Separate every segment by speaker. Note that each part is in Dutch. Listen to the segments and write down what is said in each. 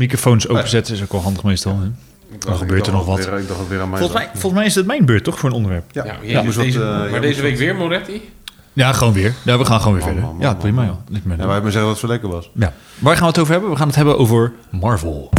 Speaker 1: Microfoons openzetten is ook wel handig meestal. hè?
Speaker 2: Oh,
Speaker 1: Dan gebeurt er nog wat.
Speaker 2: Weer, ik dacht alweer aan mij.
Speaker 1: Volgens mij, volgens mij is het mijn beurt toch voor een onderwerp?
Speaker 2: Ja,
Speaker 3: Nou,
Speaker 2: ja,
Speaker 3: jezus,
Speaker 2: maar
Speaker 3: deze-
Speaker 2: dat, eh, ja,
Speaker 3: maar deze
Speaker 2: maar
Speaker 3: week weer Moretti?
Speaker 1: Ja, gewoon weer. Ja, we gaan gewoon weer
Speaker 2: Man,
Speaker 1: verder.
Speaker 2: man, man,
Speaker 1: ja,
Speaker 2: man,
Speaker 1: prima
Speaker 2: man.
Speaker 1: joh. Ik ben
Speaker 2: Ja, wij hebben zeggen dat het zo lekker was.
Speaker 1: Ja. Waar gaan we het over hebben? We gaan het hebben over Marvel.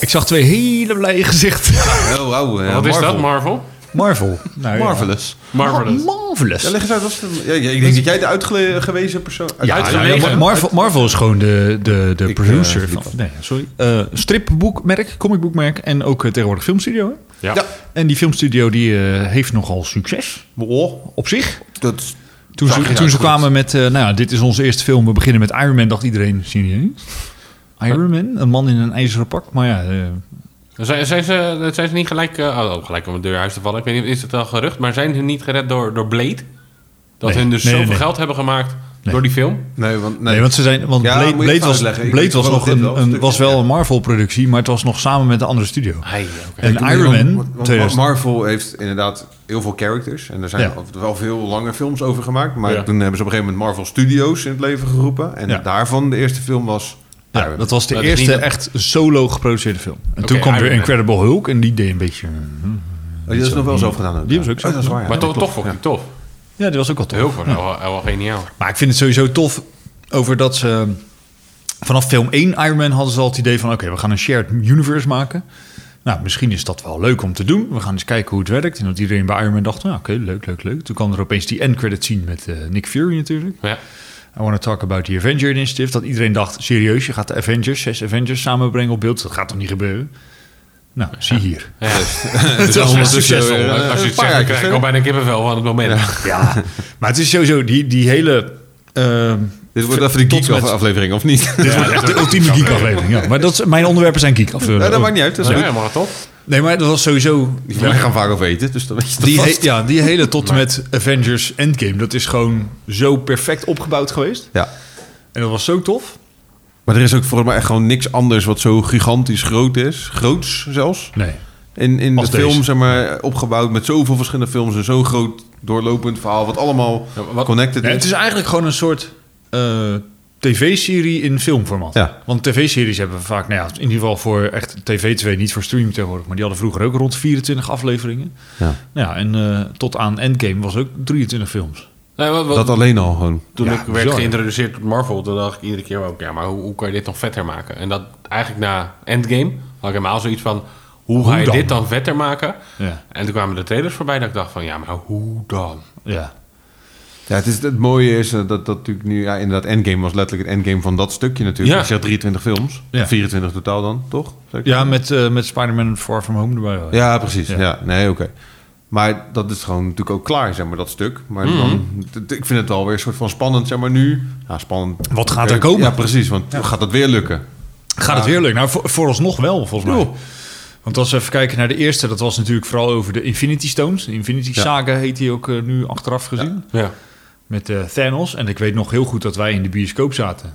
Speaker 1: Ik zag twee hele blije gezichten.
Speaker 2: Oh, wow, eh,
Speaker 3: Wat is
Speaker 2: Marvel.
Speaker 3: dat, Marvel?
Speaker 1: Marvel. Nou, ja.
Speaker 2: Marvelous.
Speaker 3: Marvelous.
Speaker 1: Ma- Marvelous.
Speaker 2: Ja, leg eens uit. Wat is het- ja, ja, ik denk dat jij de uitgewezen persoon...
Speaker 1: Ja,
Speaker 3: Uitgelegen.
Speaker 1: ja, ja, Marvel, Marvel is gewoon de, de, de
Speaker 2: Ik,
Speaker 1: producer
Speaker 2: eh,
Speaker 1: van. Nee, sorry. Eh, stripboekmerk, comicboekmerk en ook eh, tegenwoordig filmstudio. hè?
Speaker 3: Ja.
Speaker 2: Ja.
Speaker 1: En die filmstudio die, eh, heeft nogal succes
Speaker 2: Oh,
Speaker 1: op zich.
Speaker 2: dat is-
Speaker 1: Toen
Speaker 2: Zag
Speaker 1: ze,
Speaker 2: je
Speaker 1: toen ze
Speaker 2: dat?
Speaker 1: kwamen met, eh, nou ja, dit is onze eerste film, we beginnen met Iron Man, dacht iedereen, serieus? Iron Man, een man in een ijzeren pak, maar ja, eh,
Speaker 3: Zijn, zijn, ze, zijn ze niet gelijk, eh, oh, oh, gelijk om het deur huis te vallen? Ik weet niet, is het al gerucht? Maar zijn ze niet gered door, door Blade? Dat
Speaker 1: Nee.
Speaker 3: hun dus
Speaker 1: Nee, nee,
Speaker 3: zoveel
Speaker 1: nee.
Speaker 3: geld hebben gemaakt door die film?
Speaker 2: Nee, want...
Speaker 1: nee, want ze zijn, want
Speaker 2: Ja,
Speaker 1: Blade,
Speaker 2: moet je
Speaker 1: Blade
Speaker 2: het
Speaker 1: was,
Speaker 2: uitleggen. Ik
Speaker 1: Blade
Speaker 2: weet
Speaker 1: was
Speaker 2: wel
Speaker 1: nog
Speaker 2: dat
Speaker 1: een,
Speaker 2: dit wel een
Speaker 1: een-
Speaker 2: stukje-
Speaker 1: was wel
Speaker 2: ja.
Speaker 1: een Marvel-productie, maar het was nog samen met een andere studio.
Speaker 3: Hey, oké.
Speaker 1: En
Speaker 2: Kijk,
Speaker 1: Iron Man,
Speaker 2: want- want
Speaker 1: 2000.
Speaker 2: Marvel heeft inderdaad heel veel characters. En er zijn
Speaker 1: Ja.
Speaker 2: al- wel veel lange films over gemaakt. Maar
Speaker 3: Ja.
Speaker 2: toen hebben ze op een gegeven moment Marvel Studios in het leven geroepen. En
Speaker 1: Ja.
Speaker 2: daarvan de eerste film was... Iron
Speaker 1: ja,
Speaker 2: Man. Oh,
Speaker 1: dat was de
Speaker 3: Maar dat is
Speaker 1: eerste
Speaker 3: Ah, niet-
Speaker 1: echt solo geproduceerde film. En toen
Speaker 3: Oké,
Speaker 1: kwam
Speaker 3: Iron
Speaker 1: weer
Speaker 3: Man.
Speaker 1: Incredible Hulk en die deed een beetje... eh,
Speaker 2: Oh, die is nog wel zelf gedaan. ook.
Speaker 1: Die hebben ze ook
Speaker 2: Oh, dat is
Speaker 1: zelf
Speaker 2: waar, ja.
Speaker 3: maar
Speaker 2: Ja,
Speaker 3: toch,
Speaker 2: klopt.
Speaker 3: toch vond ik die tof.
Speaker 1: Ja, die was ook al tof.
Speaker 3: Heel veel, wel, wel geniaal.
Speaker 1: Maar ik vind het sowieso tof over dat ze... Vanaf film 1 Iron Man hadden ze al het idee van... oké, we gaan een shared universe maken. Nou, misschien is dat wel leuk om te doen. We gaan eens kijken hoe het werkt. En dat iedereen bij Iron Man dacht... nou, oké, leuk, leuk, leuk. Toen kwam er opeens die end credit scene met eh, Nick Fury natuurlijk.
Speaker 3: Ja.
Speaker 1: I want to talk about the Avenger Initiative. Dat iedereen dacht, serieus, je gaat de Avengers, zes Avengers samenbrengen op beeld. Dat gaat toch niet gebeuren? Nou, zie hier.
Speaker 3: Ja, dus,
Speaker 1: Het was
Speaker 3: dus
Speaker 1: ondertussen
Speaker 3: succesvol.
Speaker 2: weer, eh,
Speaker 3: Als je
Speaker 2: een paar
Speaker 3: het zegt, dan
Speaker 2: jaar
Speaker 3: krijg ik
Speaker 2: verder.
Speaker 3: al bijna kippenvel van het moment.
Speaker 1: Ja, maar het is sowieso die, die hele... ehm,
Speaker 2: Dit wordt even de
Speaker 1: Tot
Speaker 2: geek
Speaker 1: met-
Speaker 2: aflevering, of niet?
Speaker 1: Dit wordt echt de ultieme geek-aflevering. Ja. Maar dat is, mijn onderwerpen zijn geek-afleveringen.
Speaker 2: Ja, dat maakt niet uit. Dat is
Speaker 3: Ja,
Speaker 2: goed.
Speaker 3: helemaal tof.
Speaker 1: Nee, maar dat was sowieso...
Speaker 2: Die wij gaan vaak over eten, dus dan weet je het
Speaker 1: Die, he-
Speaker 2: alvast.
Speaker 1: ja, die hele tot en met Avengers Endgame. Dat is gewoon zo perfect opgebouwd geweest.
Speaker 2: Ja.
Speaker 1: En dat was zo tof.
Speaker 2: Maar er is ook volgens mij echt gewoon niks anders wat zo gigantisch groot is. Groots zelfs.
Speaker 1: Nee.
Speaker 2: In, in de
Speaker 1: Als deze.
Speaker 2: film, zeg maar, opgebouwd met zoveel verschillende films en zo'n groot doorlopend verhaal, wat allemaal
Speaker 3: Ja, wat-
Speaker 2: connected
Speaker 1: het
Speaker 2: is.
Speaker 1: is eigenlijk gewoon een soort eh, tv-serie in filmformaat.
Speaker 2: Ja.
Speaker 1: Want tv-series hebben we vaak, nou ja, in ieder geval voor echt TV2, niet voor streaming tegenwoordig. Maar die hadden vroeger ook rond 24 afleveringen.
Speaker 2: Ja.
Speaker 1: Nou ja, en eh, tot aan Endgame was ook 23 films.
Speaker 3: Nee, wat, wat-
Speaker 2: Dat alleen al gewoon.
Speaker 3: toen
Speaker 1: Ja,
Speaker 3: ik werd
Speaker 1: bizar.
Speaker 3: geïntroduceerd tot Marvel, toen dacht ik iedere keer ook, ja, maar hoe, hoe kan je dit nog vetter maken? En dat eigenlijk na Endgame had ik helemaal zoiets van, hoe ga
Speaker 1: Hoe
Speaker 3: je
Speaker 1: dan?
Speaker 3: dit dan vetter maken?
Speaker 1: Ja.
Speaker 3: En toen kwamen de trailers voorbij dat ik dacht van, ja, maar hoe dan?
Speaker 1: Ja.
Speaker 2: Ja, het, is, het mooie is eh, dat dat natuurlijk nu, ja, inderdaad, Endgame was letterlijk het endgame van dat stukje natuurlijk.
Speaker 3: Ja.
Speaker 2: Dus je had 23 films,
Speaker 1: Ja.
Speaker 2: 24 totaal dan, toch? Zeker?
Speaker 1: Ja, met, eh, met Spider-Man Far From Home erbij.
Speaker 2: Ja, precies.
Speaker 1: Ja.
Speaker 2: Ja. Nee, oké. Maar dat is gewoon natuurlijk ook klaar, zeg maar, dat stuk. Maar
Speaker 1: Mhm.
Speaker 2: dan, t- t- ik vind het alweer een soort van spannend, zeg maar, nu. Ja, spannend.
Speaker 1: Wat gaat er komen?
Speaker 2: Ja, precies, want gaat dat weer lukken?
Speaker 1: Gaat het weer leuk? Nou, voor, vooralsnog wel, volgens mij. Want als we even kijken naar de eerste, dat was natuurlijk vooral over de Infinity Stones. De Infinity
Speaker 2: Ja.
Speaker 1: Saga heet die ook eh, nu achteraf gezien.
Speaker 3: Ja.
Speaker 1: Met eh, Thanos. En ik weet nog heel goed dat wij in de bioscoop zaten.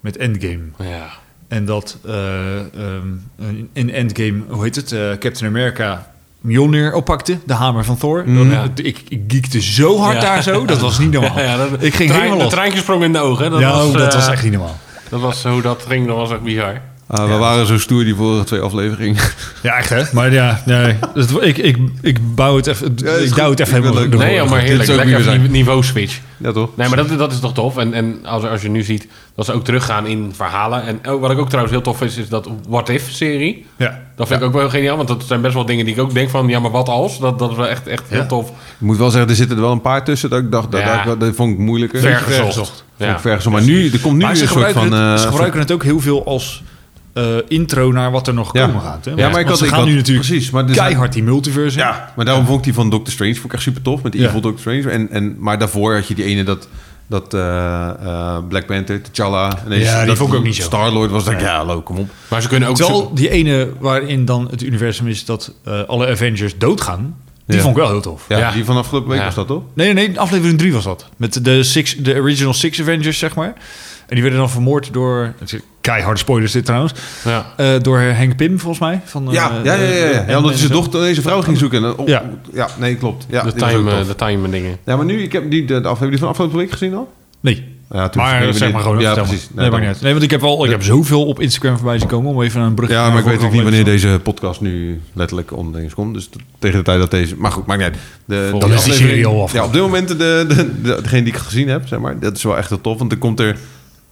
Speaker 1: Met Endgame.
Speaker 3: ja.
Speaker 1: En dat eh, ehm, in Endgame, hoe heet het? eh, Captain America Mjolnir oppakte. De hamer van Thor. Dan, eh,
Speaker 3: Ja.
Speaker 1: ik, ik geekte zo hard
Speaker 3: Ja.
Speaker 1: daar zo. Dat was niet normaal.
Speaker 3: Ja, dat-
Speaker 1: ik ging
Speaker 3: trein-
Speaker 1: helemaal
Speaker 3: De
Speaker 1: los.
Speaker 3: treintje sprong in de ogen. Dat,
Speaker 1: ja, oh,
Speaker 3: was,
Speaker 1: dat
Speaker 3: eh,
Speaker 1: was echt niet normaal.
Speaker 3: dat was hoe dat ging, dat was echt bizar.
Speaker 2: Ah, we waren zo stoer die vorige twee afleveringen.
Speaker 1: Ja, echt hè? Maar ja, nee. Dat, ik, ik, ik bouw het even,
Speaker 2: is
Speaker 1: ik
Speaker 2: goed.
Speaker 1: douw het even
Speaker 2: Ik wil
Speaker 1: helemaal
Speaker 2: ook-
Speaker 1: door.
Speaker 3: Nee, joh, maar
Speaker 2: dit
Speaker 3: heerlijk.
Speaker 2: zou ik
Speaker 3: Lekker
Speaker 2: niet meer
Speaker 3: even niveau switch.
Speaker 2: ja, toch?
Speaker 3: Nee, maar dat, dat is toch tof. En, en als, als je nu ziet dat ze ook teruggaan in verhalen. En ook- wat ik ook trouwens heel tof vind, is dat What If-serie.
Speaker 1: Ja.
Speaker 3: Dat vind ik ook wel geniaal, want dat zijn best wel dingen die ik ook denk van... ja, maar wat als? Dat, dat is wel echt, echt
Speaker 1: Ja.
Speaker 3: heel tof.
Speaker 2: Ik moet wel zeggen, er zitten er wel een paar tussen dat ik dacht, dat,
Speaker 3: Ja.
Speaker 2: dat, dat vond ik moeilijker.
Speaker 3: Vergezocht.
Speaker 2: Vond
Speaker 3: Ja.
Speaker 2: ik vergezocht. Maar nu, er komt nu
Speaker 1: maar
Speaker 2: weer
Speaker 1: ze
Speaker 2: een soort
Speaker 1: gebruiken,
Speaker 2: van...
Speaker 1: het,
Speaker 2: eh,
Speaker 1: ze gebruiken het ook heel veel als eh, intro naar wat er nog
Speaker 2: Ja.
Speaker 1: komen gaat. Hè?
Speaker 2: Ja,
Speaker 1: Want-
Speaker 2: maar ik
Speaker 1: want
Speaker 2: had-
Speaker 1: ze
Speaker 2: ik
Speaker 1: gaan
Speaker 2: had-
Speaker 1: nu natuurlijk Dus-
Speaker 2: precies, maar er zijn-
Speaker 1: keihard die multiverse. in.
Speaker 2: Ja, maar daarom vond ik die van Doctor Strange vond ik echt super tof met
Speaker 1: Ja.
Speaker 2: Evil Doctor Strange. En, en, maar daarvoor had je die ene dat, dat eh, eh, Black Panther, T'Challa. ineens
Speaker 1: Ja, die
Speaker 2: dat
Speaker 1: vond ik ook niet zo.
Speaker 2: Star-Lord was dat, ja, hallo, kom op.
Speaker 3: Maar ze kunnen ook...
Speaker 1: Terwijl die ene waarin dan het universum is dat eh, alle Avengers doodgaan. Die
Speaker 2: Ja.
Speaker 1: vond ik wel heel tof.
Speaker 2: Ja,
Speaker 3: Ja.
Speaker 2: die van afgelopen week
Speaker 3: Ja.
Speaker 2: was dat toch?
Speaker 1: Nee, nee, nee, aflevering 3 was dat. Met de, six, de original Six Avengers, zeg maar. En die werden dan vermoord door... het is Keiharde spoilers dit trouwens.
Speaker 3: Ja.
Speaker 1: Eh, door Henk Pim, volgens mij. Van,
Speaker 2: ja,
Speaker 1: eh,
Speaker 2: ja, ja,
Speaker 1: de-
Speaker 2: ja,
Speaker 1: de-
Speaker 2: ja. ja, omdat hij zijn
Speaker 1: en- eh,
Speaker 2: dochter deze vrouw ging zoeken. En, dan- oh,
Speaker 1: Ja.
Speaker 2: ja. nee, klopt. Ja,
Speaker 3: de,
Speaker 2: die was ook
Speaker 3: time,
Speaker 2: tof.
Speaker 3: eh, de time dingen.
Speaker 2: Ja, maar nu, ik heb die, de, de aflevering die van afgelopen week gezien al.
Speaker 1: Nee,
Speaker 2: Ja, toen
Speaker 1: maar
Speaker 2: vergeten we
Speaker 1: zeg
Speaker 2: dit.
Speaker 1: maar gewoon.
Speaker 2: Ja,
Speaker 1: vertel
Speaker 2: precies.
Speaker 1: maar. Nee, maakt
Speaker 2: dan-
Speaker 1: niet uit. Nee, want ik heb, al, ik heb zoveel op Instagram voorbij zien komen... om even een brug
Speaker 2: Ja, maar ik weet ook niet wanneer deze podcast nu letterlijk onderdings komt. Dus t- tegen de tijd dat deze... Maar goed, maakt niet uit. De,
Speaker 3: Dan
Speaker 2: de
Speaker 3: is die
Speaker 2: aflevering-
Speaker 1: serie al af.
Speaker 2: Ja, op dit moment de, de, de- degene die ik gezien heb, zeg maar. Dat is wel echt heel tof. Want er komt er een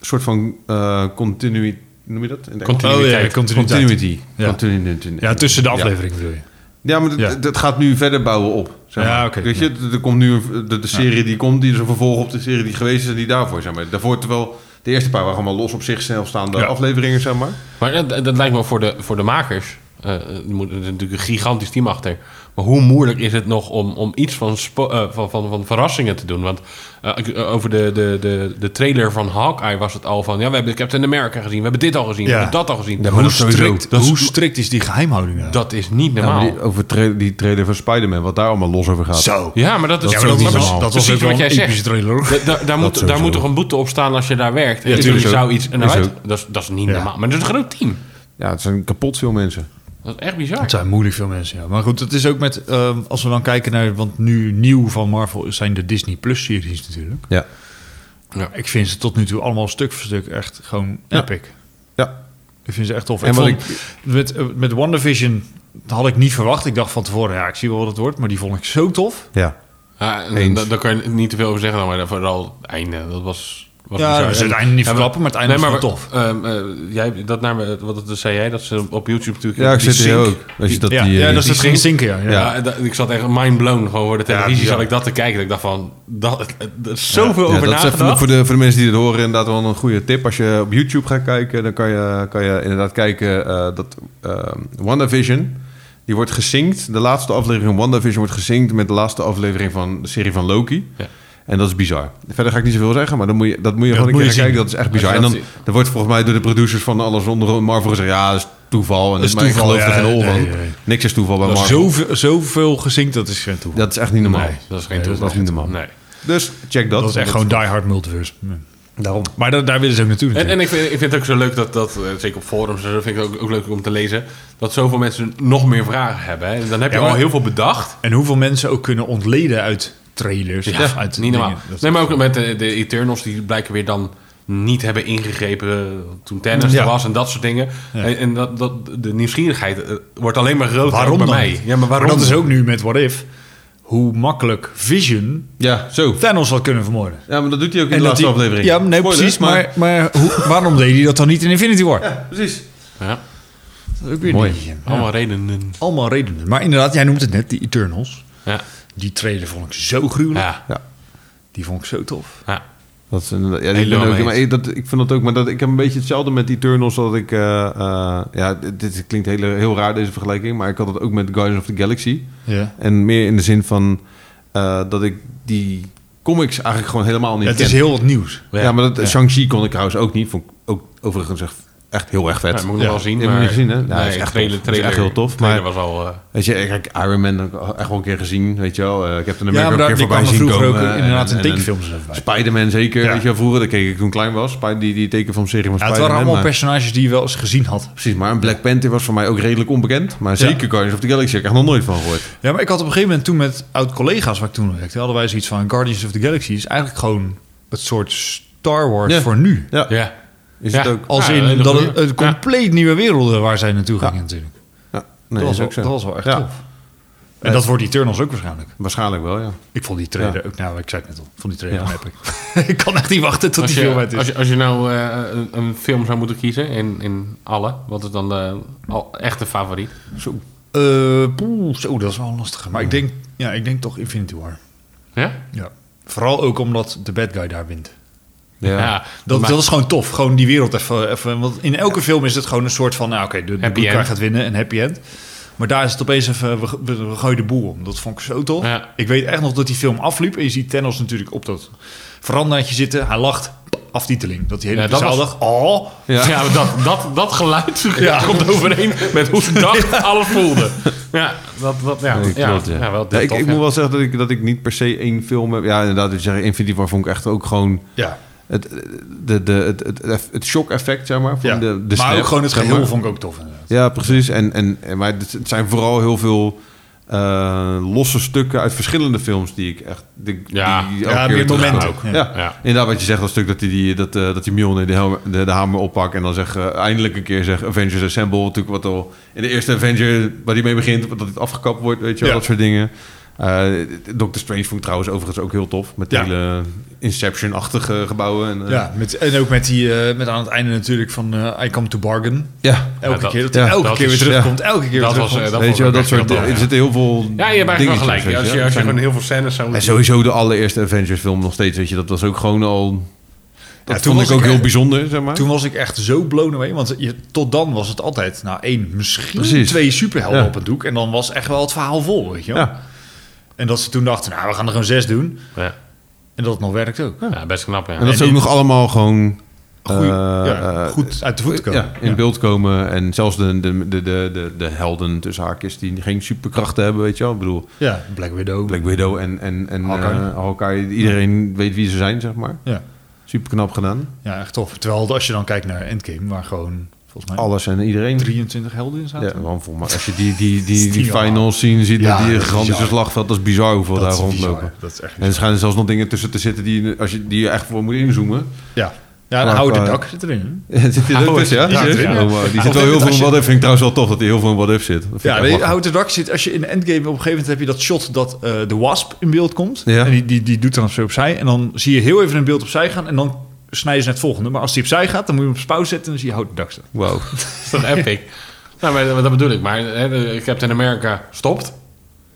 Speaker 2: soort van eh continui... Noem je dat? In de-
Speaker 3: Continu-
Speaker 1: Oh ja,
Speaker 3: Continuïteit.
Speaker 1: continuïteit.
Speaker 2: Continuity.
Speaker 1: Ja.
Speaker 2: Continuity.
Speaker 1: Ja, tussen de afleveringen bedoel je.
Speaker 2: Ja, maar dat,
Speaker 1: Ja.
Speaker 2: dat gaat nu verder bouwen op. Zeg maar.
Speaker 1: Ja, oké.
Speaker 2: Weet je, er- er komt nu een- de, de serie die komt, die is een vervolg op de serie die geweest is en die daarvoor, zeg maar. Daarvoor, terwijl de eerste paar waren allemaal los op zichzelf staande
Speaker 1: Ja.
Speaker 2: afleveringen, zeg maar.
Speaker 3: Maar dat, dat lijkt me voor de, voor de makers. eh, er moet er is natuurlijk een gigantisch team achter. Maar hoe moeilijk is het nog om, om iets van, spo- eh, van, van, van verrassingen te doen? Want eh, ik- eh, over de, de, de, de trailer van Hawkeye was het al van... Ja, we hebben Captain America gezien. We hebben dit al gezien.
Speaker 1: Ja.
Speaker 3: We hebben dat al gezien.
Speaker 1: hoe,
Speaker 3: dat,
Speaker 1: strikt,
Speaker 3: dat, is-
Speaker 1: hoe strikt is die geheimhouding? nou?
Speaker 3: dat is niet
Speaker 2: Ja, maar
Speaker 3: normaal.
Speaker 2: die, over tra- die trailer van Spider-man, wat daar allemaal los over gaat.
Speaker 1: Zo.
Speaker 3: Ja, maar dat is
Speaker 1: Ja, maar dat,
Speaker 3: maar
Speaker 1: was,
Speaker 3: precies-
Speaker 1: dat was ook
Speaker 3: precies
Speaker 1: wel
Speaker 3: wat jij
Speaker 1: een epische
Speaker 3: zegt.
Speaker 1: trailer. hoor.
Speaker 3: Da- da- daar moet, daar
Speaker 2: sowieso.
Speaker 3: moet toch een boete op staan als je daar werkt. En
Speaker 1: tuurlijk
Speaker 3: je
Speaker 1: ook.
Speaker 3: zou iets. En
Speaker 2: Is
Speaker 3: eruit-
Speaker 2: ook.
Speaker 3: dat, is, dat is niet
Speaker 1: Ja.
Speaker 3: normaal. Maar dat is een groot team.
Speaker 2: Ja, het zijn kapot veel mensen.
Speaker 3: Dat is echt bizar.
Speaker 1: Het zijn moeilijk veel mensen, ja. Maar goed, het is ook met... ehm, als we dan kijken naar... Want nu nieuw van Marvel zijn de Disney Plus-series natuurlijk.
Speaker 2: Ja.
Speaker 1: Ik vind ze tot nu toe allemaal stuk voor stuk echt gewoon
Speaker 2: Ja.
Speaker 1: epic.
Speaker 2: Ja.
Speaker 1: Ik vind ze echt tof.
Speaker 2: En
Speaker 1: ik
Speaker 2: wat
Speaker 1: vond, met, eh, met WandaVision dat had ik niet verwacht. Ik dacht van tevoren, ja, ik zie wel wat het wordt. Maar die vond ik zo tof.
Speaker 2: Ja.
Speaker 3: Ja, en
Speaker 2: Eens.
Speaker 3: da- daar kan je niet te veel over zeggen, dan, maar vooral het einde. Dat was. was
Speaker 1: Ja,
Speaker 3: bizar.
Speaker 1: we zullen
Speaker 3: En-
Speaker 1: het einde niet
Speaker 3: en we-
Speaker 1: verklappen, maar het einde
Speaker 3: nee,
Speaker 1: was
Speaker 3: maar
Speaker 1: wel tof.
Speaker 3: we- ehm, eh, jij, dat naar me, wat dat zei jij, dat ze op YouTube natuurlijk.
Speaker 2: Ja, ik
Speaker 3: die
Speaker 2: zit hier
Speaker 3: sync-
Speaker 2: ook. Als je dat
Speaker 1: ja,
Speaker 2: die, eh,
Speaker 1: ja,
Speaker 2: die-
Speaker 1: dat is het
Speaker 3: die
Speaker 1: ging zinken, ja. ja.
Speaker 3: Ja, da- ik zat echt mind blown gewoon voor de televisie.
Speaker 1: bizar.
Speaker 3: zat ik dat te kijken. Dat ik dacht van, dat, er is zoveel
Speaker 2: Ja,
Speaker 3: over
Speaker 2: dat is even
Speaker 3: nagedacht.
Speaker 2: voor de, voor de mensen die het horen inderdaad wel een goede tip. Als je op YouTube gaat kijken, dan kan je, kan je inderdaad kijken eh, dat ehm WandaVision, die wordt gesynct. De laatste aflevering van WandaVision wordt gesynct met de laatste aflevering van de serie van Loki.
Speaker 3: Ja.
Speaker 2: En dat is bizar. Verder ga ik niet zoveel zeggen, maar dan moet je, dat moet je
Speaker 1: Ja,
Speaker 2: gewoon een
Speaker 1: dat
Speaker 2: keer
Speaker 1: moet je
Speaker 2: gaan kijken.
Speaker 1: zien.
Speaker 2: Dat is echt
Speaker 3: Als je
Speaker 2: bizar. En
Speaker 3: dat
Speaker 2: dan er wordt volgens mij door de producers van alles onder Marvel gezegd, ja, dat is toeval. En
Speaker 1: Dat is
Speaker 2: maar ik
Speaker 1: toeval,
Speaker 2: geloof er
Speaker 1: ja,
Speaker 2: geen hol
Speaker 1: nee,
Speaker 2: van.
Speaker 1: nee.
Speaker 2: Niks is toeval bij
Speaker 1: Maar
Speaker 2: Marvel.
Speaker 1: Zoveel, zoveel gezinkt, dat is geen toeval.
Speaker 2: Dat is echt niet normaal.
Speaker 3: Nee, dat is geen
Speaker 1: Nee, dat is
Speaker 3: toeval.
Speaker 2: echt niet normaal.
Speaker 3: Nee.
Speaker 2: Dus check dat.
Speaker 1: Dat is echt
Speaker 2: Want-
Speaker 1: gewoon Die Hard Multiverse. Daarom. Maar da- daar willen ze ook naartoe
Speaker 3: En,
Speaker 1: natuurlijk.
Speaker 3: en ik, vind, ik vind het ook zo leuk dat, dat eh, zeker op forums, dat vind ik ook, ook leuk om te lezen, dat zoveel mensen nog meer vragen hebben. Hè. En dan heb je
Speaker 1: Ja, maar-
Speaker 3: al heel veel bedacht.
Speaker 1: En hoeveel mensen ook kunnen ontleden uit trailers.
Speaker 3: Ja,
Speaker 1: of uit
Speaker 3: niet
Speaker 1: dingen.
Speaker 3: normaal.
Speaker 1: Dat-
Speaker 3: Nee, maar ook met de, de Eternals, die blijken weer dan niet hebben ingegrepen eh, toen tennis
Speaker 1: Ja.
Speaker 3: er was en dat soort dingen. En, en dat, dat, de nieuwsgierigheid eh, wordt alleen maar groter
Speaker 1: waarom
Speaker 3: ook bij
Speaker 1: dan?
Speaker 3: mij. Ja, maar waarom?
Speaker 1: dat is ook nu met What If. Hoe makkelijk Vision
Speaker 2: Ja, zo.
Speaker 1: Thanos had kunnen vermoorden.
Speaker 2: Ja, maar dat doet hij ook in de
Speaker 1: dat
Speaker 2: laatste
Speaker 1: die-
Speaker 2: aflevering.
Speaker 1: Ja, nee,
Speaker 2: Spoiler,
Speaker 1: precies. Maar, maar hoe- waarom deed hij dat dan niet in Infinity War?
Speaker 2: Ja, precies.
Speaker 3: Ja,
Speaker 1: Dat is ook weer
Speaker 2: Mooi.
Speaker 1: niet. Ja.
Speaker 3: allemaal redenen.
Speaker 1: Allemaal redenen. Maar inderdaad, jij noemt het net, die Eternals.
Speaker 3: Ja,
Speaker 1: Die trailer vond ik zo gruwelijk.
Speaker 3: ja,
Speaker 2: Ja.
Speaker 1: Die vond ik zo tof.
Speaker 3: ja.
Speaker 2: Dat is inderdaad- ja, die
Speaker 3: Helemaal
Speaker 2: ben ook,
Speaker 3: mee
Speaker 2: maar
Speaker 3: eens.
Speaker 2: ik, dat, ik vind dat ook, maar dat, ik heb een beetje hetzelfde met Eternals. Dat ik, eh, eh, ja, dit, dit klinkt heel, heel raar deze vergelijking, maar ik had dat ook met Guardians of the Galaxy.
Speaker 1: Ja.
Speaker 2: En meer in de zin van eh, dat ik die comics eigenlijk gewoon helemaal niet
Speaker 1: het
Speaker 2: ken.
Speaker 1: is heel wat nieuws.
Speaker 2: ja, maar dat, Shang-Chi kon ik trouwens ook niet. Vond ik ook overigens echt, echt heel erg vet.
Speaker 3: Ja, moet ik nog
Speaker 1: Ja,
Speaker 3: wel zien.
Speaker 2: heb je
Speaker 3: maar-
Speaker 2: niet gezien, hè? Ja,
Speaker 3: Nee,
Speaker 2: dat is echt
Speaker 3: trailer,
Speaker 2: tof. Dat is echt
Speaker 3: trailer,
Speaker 2: heel tof,
Speaker 3: trailer
Speaker 2: maar-
Speaker 3: was al... eh,
Speaker 2: Weet je, kijk, Iron Man heb ik echt wel een keer gezien, weet je wel. Eh, ik heb er een
Speaker 1: Ja, maar daar, die
Speaker 2: keer voorbij
Speaker 1: kwamen
Speaker 2: zien
Speaker 1: vroeger
Speaker 2: komen.
Speaker 1: ook
Speaker 2: eh,
Speaker 1: inderdaad
Speaker 2: en-
Speaker 1: in
Speaker 2: en-
Speaker 1: tekenfilms even bij.
Speaker 2: Spider-man zeker,
Speaker 1: Ja.
Speaker 2: weet je wel. Vroeger, dat keek ik toen ik klein was. Spy- Die, die tekenfilmserie
Speaker 1: Ja,
Speaker 2: van
Speaker 1: het
Speaker 2: Spider-Man.
Speaker 1: waren allemaal
Speaker 2: maar-
Speaker 1: personages die je wel eens gezien had.
Speaker 2: Precies, maar een Black Panther was voor mij ook redelijk onbekend. Maar
Speaker 1: Ja.
Speaker 2: zeker Guardians of the Galaxy, heb ik echt nog nooit van gehoord.
Speaker 1: Ja, maar ik had op een gegeven moment toen met oud-collega's waar ik toen werkte... hadden wij zoiets van Guardians of the Galaxy is eigenlijk gewoon het soort Star Wars
Speaker 2: Ja.
Speaker 1: voor nu.
Speaker 2: Ja,
Speaker 3: Ja.
Speaker 2: is
Speaker 3: Ja.
Speaker 2: het ook...
Speaker 1: Als
Speaker 3: Ja,
Speaker 1: in
Speaker 3: hele
Speaker 1: dat
Speaker 3: goeie.
Speaker 1: het een
Speaker 3: Ja.
Speaker 1: compleet nieuwe werelden waar zij naartoe gingen natuurlijk.
Speaker 2: Ja,
Speaker 1: dat,
Speaker 2: nee,
Speaker 1: was
Speaker 2: is
Speaker 1: wel,
Speaker 2: ook zo.
Speaker 1: dat was wel echt
Speaker 2: Ja,
Speaker 1: tof. En dat wordt Eternals ook waarschijnlijk.
Speaker 2: Waarschijnlijk wel, ja.
Speaker 1: Ik vond die trailer ook... Nou, ik zei het net al. Ik vond die trailer ja. epic. ik kan echt niet wachten tot
Speaker 3: Als
Speaker 1: die film
Speaker 3: je,
Speaker 1: uit is.
Speaker 3: als, je, als je nou eh, een, een film zou moeten kiezen in, in alle, wat is dan de al, echte favoriet?
Speaker 2: Zo.
Speaker 1: Eh, poeh, zo, dat is wel lastig. Maar ik, denk, ja, ik denk toch Infinity War.
Speaker 3: Ja?
Speaker 1: Ja. Vooral ook omdat de bad guy daar wint.
Speaker 2: Ja.
Speaker 1: Dat,
Speaker 3: maar-
Speaker 1: dat is gewoon tof. Gewoon die wereld even. even want in elke film is het gewoon een soort van... Nou, oké, de, de
Speaker 3: Happy
Speaker 1: good guy
Speaker 3: end.
Speaker 1: gaat winnen. Een happy end. Maar daar is het opeens even... We, we, we gooien de boel om. Dat vond ik zo tof.
Speaker 3: Ja.
Speaker 1: Ik weet echt nog dat die film afliep. En je ziet Thanos natuurlijk op dat verandaatje zitten. Hij lacht. aftiteling. Dat die hele
Speaker 3: Ja,
Speaker 1: ja,
Speaker 3: dat was-
Speaker 1: dacht, oh,
Speaker 3: Ja,
Speaker 2: Ja.
Speaker 3: maar dat, dat, dat geluid
Speaker 1: Ja.
Speaker 3: komt overeen met hoe ze dacht alles voelde. Ja, dat, dat, ja,
Speaker 2: Nee,
Speaker 3: ja,
Speaker 2: klopt, ja.
Speaker 3: ja. wel
Speaker 2: Ja, ik,
Speaker 3: tof,
Speaker 2: ik
Speaker 3: ja.
Speaker 2: moet wel zeggen dat ik, dat ik niet per se één film heb. Ja, inderdaad, wat je zegt, Infinity War vond ik echt ook gewoon...
Speaker 1: ja.
Speaker 2: Het, de, de, het, het, het- het shock-effect, zeg maar. Van
Speaker 1: ja.
Speaker 2: de, de
Speaker 1: maar
Speaker 2: snap,
Speaker 1: ook gewoon het
Speaker 2: zeg
Speaker 1: geheel
Speaker 2: maar.
Speaker 1: vond ik ook tof. inderdaad.
Speaker 2: Ja, precies. En, en, en- maar het het zijn vooral heel veel eh, losse stukken uit verschillende films die ik echt... Die,
Speaker 3: Ja.
Speaker 2: die elke
Speaker 1: Ja,
Speaker 2: keer
Speaker 1: meer
Speaker 2: terugkom.
Speaker 1: momenten.
Speaker 3: ook.
Speaker 1: Ja.
Speaker 2: Ja.
Speaker 3: Ja.
Speaker 2: inderdaad wat je zegt, dat stuk dat hij die, dat, eh, dat die Mjolnir de, helm- de, de hamer oppakt... en dan zeg, eh, eindelijk een keer zegt Avengers Assemble. Natuurlijk wat al in de eerste Avenger, waar die mee begint... dat het afgekapt wordt, weet je wel,
Speaker 1: Ja.
Speaker 2: dat soort dingen. Eh Doctor Strange vond ik trouwens overigens ook heel tof. Met die
Speaker 1: Ja.
Speaker 2: hele Inception-achtige gebouwen. En, eh,
Speaker 1: Ja, met, en ook met, die, eh, met aan het einde natuurlijk van eh, I Come to Bargain.
Speaker 2: ja.
Speaker 1: Elke
Speaker 3: Ja, dat-
Speaker 1: keer dat hij
Speaker 2: ja,
Speaker 1: elke
Speaker 3: dat
Speaker 1: keer
Speaker 3: is-
Speaker 1: weer
Speaker 2: ja.
Speaker 1: terugkomt. Elke keer
Speaker 3: Dat
Speaker 1: weer
Speaker 3: was, eh,
Speaker 1: terugkomt.
Speaker 3: dat
Speaker 2: Weet je wel,
Speaker 3: vond ik
Speaker 2: dat
Speaker 3: ook
Speaker 2: soort
Speaker 3: echt heel tof,
Speaker 2: dingen. Er
Speaker 3: ja.
Speaker 2: zitten heel veel
Speaker 3: Ja, je hebt eigenlijk wel
Speaker 2: dingetjes,
Speaker 3: gelijk.
Speaker 2: weet
Speaker 3: Als
Speaker 2: je wel.
Speaker 3: je, als je
Speaker 2: Het zijn-
Speaker 3: gewoon heel veel scènes zou
Speaker 2: En
Speaker 3: moeten...
Speaker 2: sowieso de allereerste Avengers film nog steeds, weet je. Dat was ook gewoon al... Dat
Speaker 1: toen
Speaker 2: vond
Speaker 1: was
Speaker 2: ik ook
Speaker 1: ik
Speaker 2: heel
Speaker 1: echt-
Speaker 2: bijzonder, zeg maar.
Speaker 1: Toen was ik echt zo blown away. Want je, tot dan was het altijd, nou één, misschien
Speaker 2: Precies.
Speaker 1: twee superhelden
Speaker 2: Ja.
Speaker 1: op het doek. En dan was echt wel het verhaal vol, weet je wel.
Speaker 2: ja.
Speaker 1: En dat ze toen dachten, nou, we gaan er gewoon zes doen.
Speaker 3: Ja.
Speaker 1: En dat het nog werkt ook.
Speaker 3: Ja, best knap, ja.
Speaker 2: En dat
Speaker 1: En
Speaker 2: ze ook
Speaker 1: dit-
Speaker 2: nog allemaal gewoon...
Speaker 1: Goeie-
Speaker 2: eh,
Speaker 1: ja,
Speaker 2: eh,
Speaker 1: goed uit de voeten komen.
Speaker 2: Ja, in beeld komen. En zelfs de, de, de, de, de, de helden tussen haakjes die geen superkrachten hebben, weet je wel. Ik bedoel,
Speaker 1: Ja, Black Widow.
Speaker 2: Black Widow en, en, en
Speaker 1: Hawkeye.
Speaker 2: eh, Hawkeye. Iedereen weet wie ze zijn, zeg maar.
Speaker 1: Ja.
Speaker 2: Super knap gedaan.
Speaker 1: ja, echt tof. Terwijl als je dan kijkt naar Endgame, waar gewoon volgens mij
Speaker 2: Alles en iedereen.
Speaker 1: 23 helden in zaten.
Speaker 2: Ja, want volgens mij, als je die, die, die, die
Speaker 1: Ja.
Speaker 2: final scene ziet,
Speaker 1: Ja,
Speaker 2: met die
Speaker 1: dat is
Speaker 2: gigantische
Speaker 1: bizar.
Speaker 2: slagveld, dat is bizar hoeveel
Speaker 1: dat
Speaker 2: daar
Speaker 1: is bizar.
Speaker 2: rondlopen.
Speaker 1: Dat is echt
Speaker 2: En er
Speaker 1: bizar.
Speaker 2: schijnen zelfs nog dingen tussen te zitten die, als je, die je echt voor moet inzoomen.
Speaker 1: Ja, ja
Speaker 2: Maar
Speaker 1: dan houden de
Speaker 2: qua-
Speaker 1: dak zit erin.
Speaker 2: zit die er ook tussen, ja?
Speaker 1: die zit erin, ja.
Speaker 2: Oh, wow. Die
Speaker 1: Ja,
Speaker 2: zit
Speaker 1: of
Speaker 2: wel heel
Speaker 1: als
Speaker 2: veel in
Speaker 1: je-
Speaker 2: what-if. Vind ik trouwens wel tof dat hij heel veel in what-if zit. Dat vind ik
Speaker 1: Ja,
Speaker 2: echt
Speaker 1: nee,
Speaker 2: lachen.
Speaker 1: houten dak zit. Als je in de endgame op een gegeven moment heb je dat shot dat eh, de wasp in beeld komt.
Speaker 2: Ja.
Speaker 1: En die, die, die doet dan zo opzij. En dan zie je heel even een beeld opzij gaan. En dan snijden ze naar het volgende. Maar als die opzij gaat, dan moet je hem op pauze zetten. En dan zie je houten dak staan.
Speaker 2: Wauw.
Speaker 3: Is dat epic? nou, maar, dat bedoel ik. Maar hè, de Captain America stopt.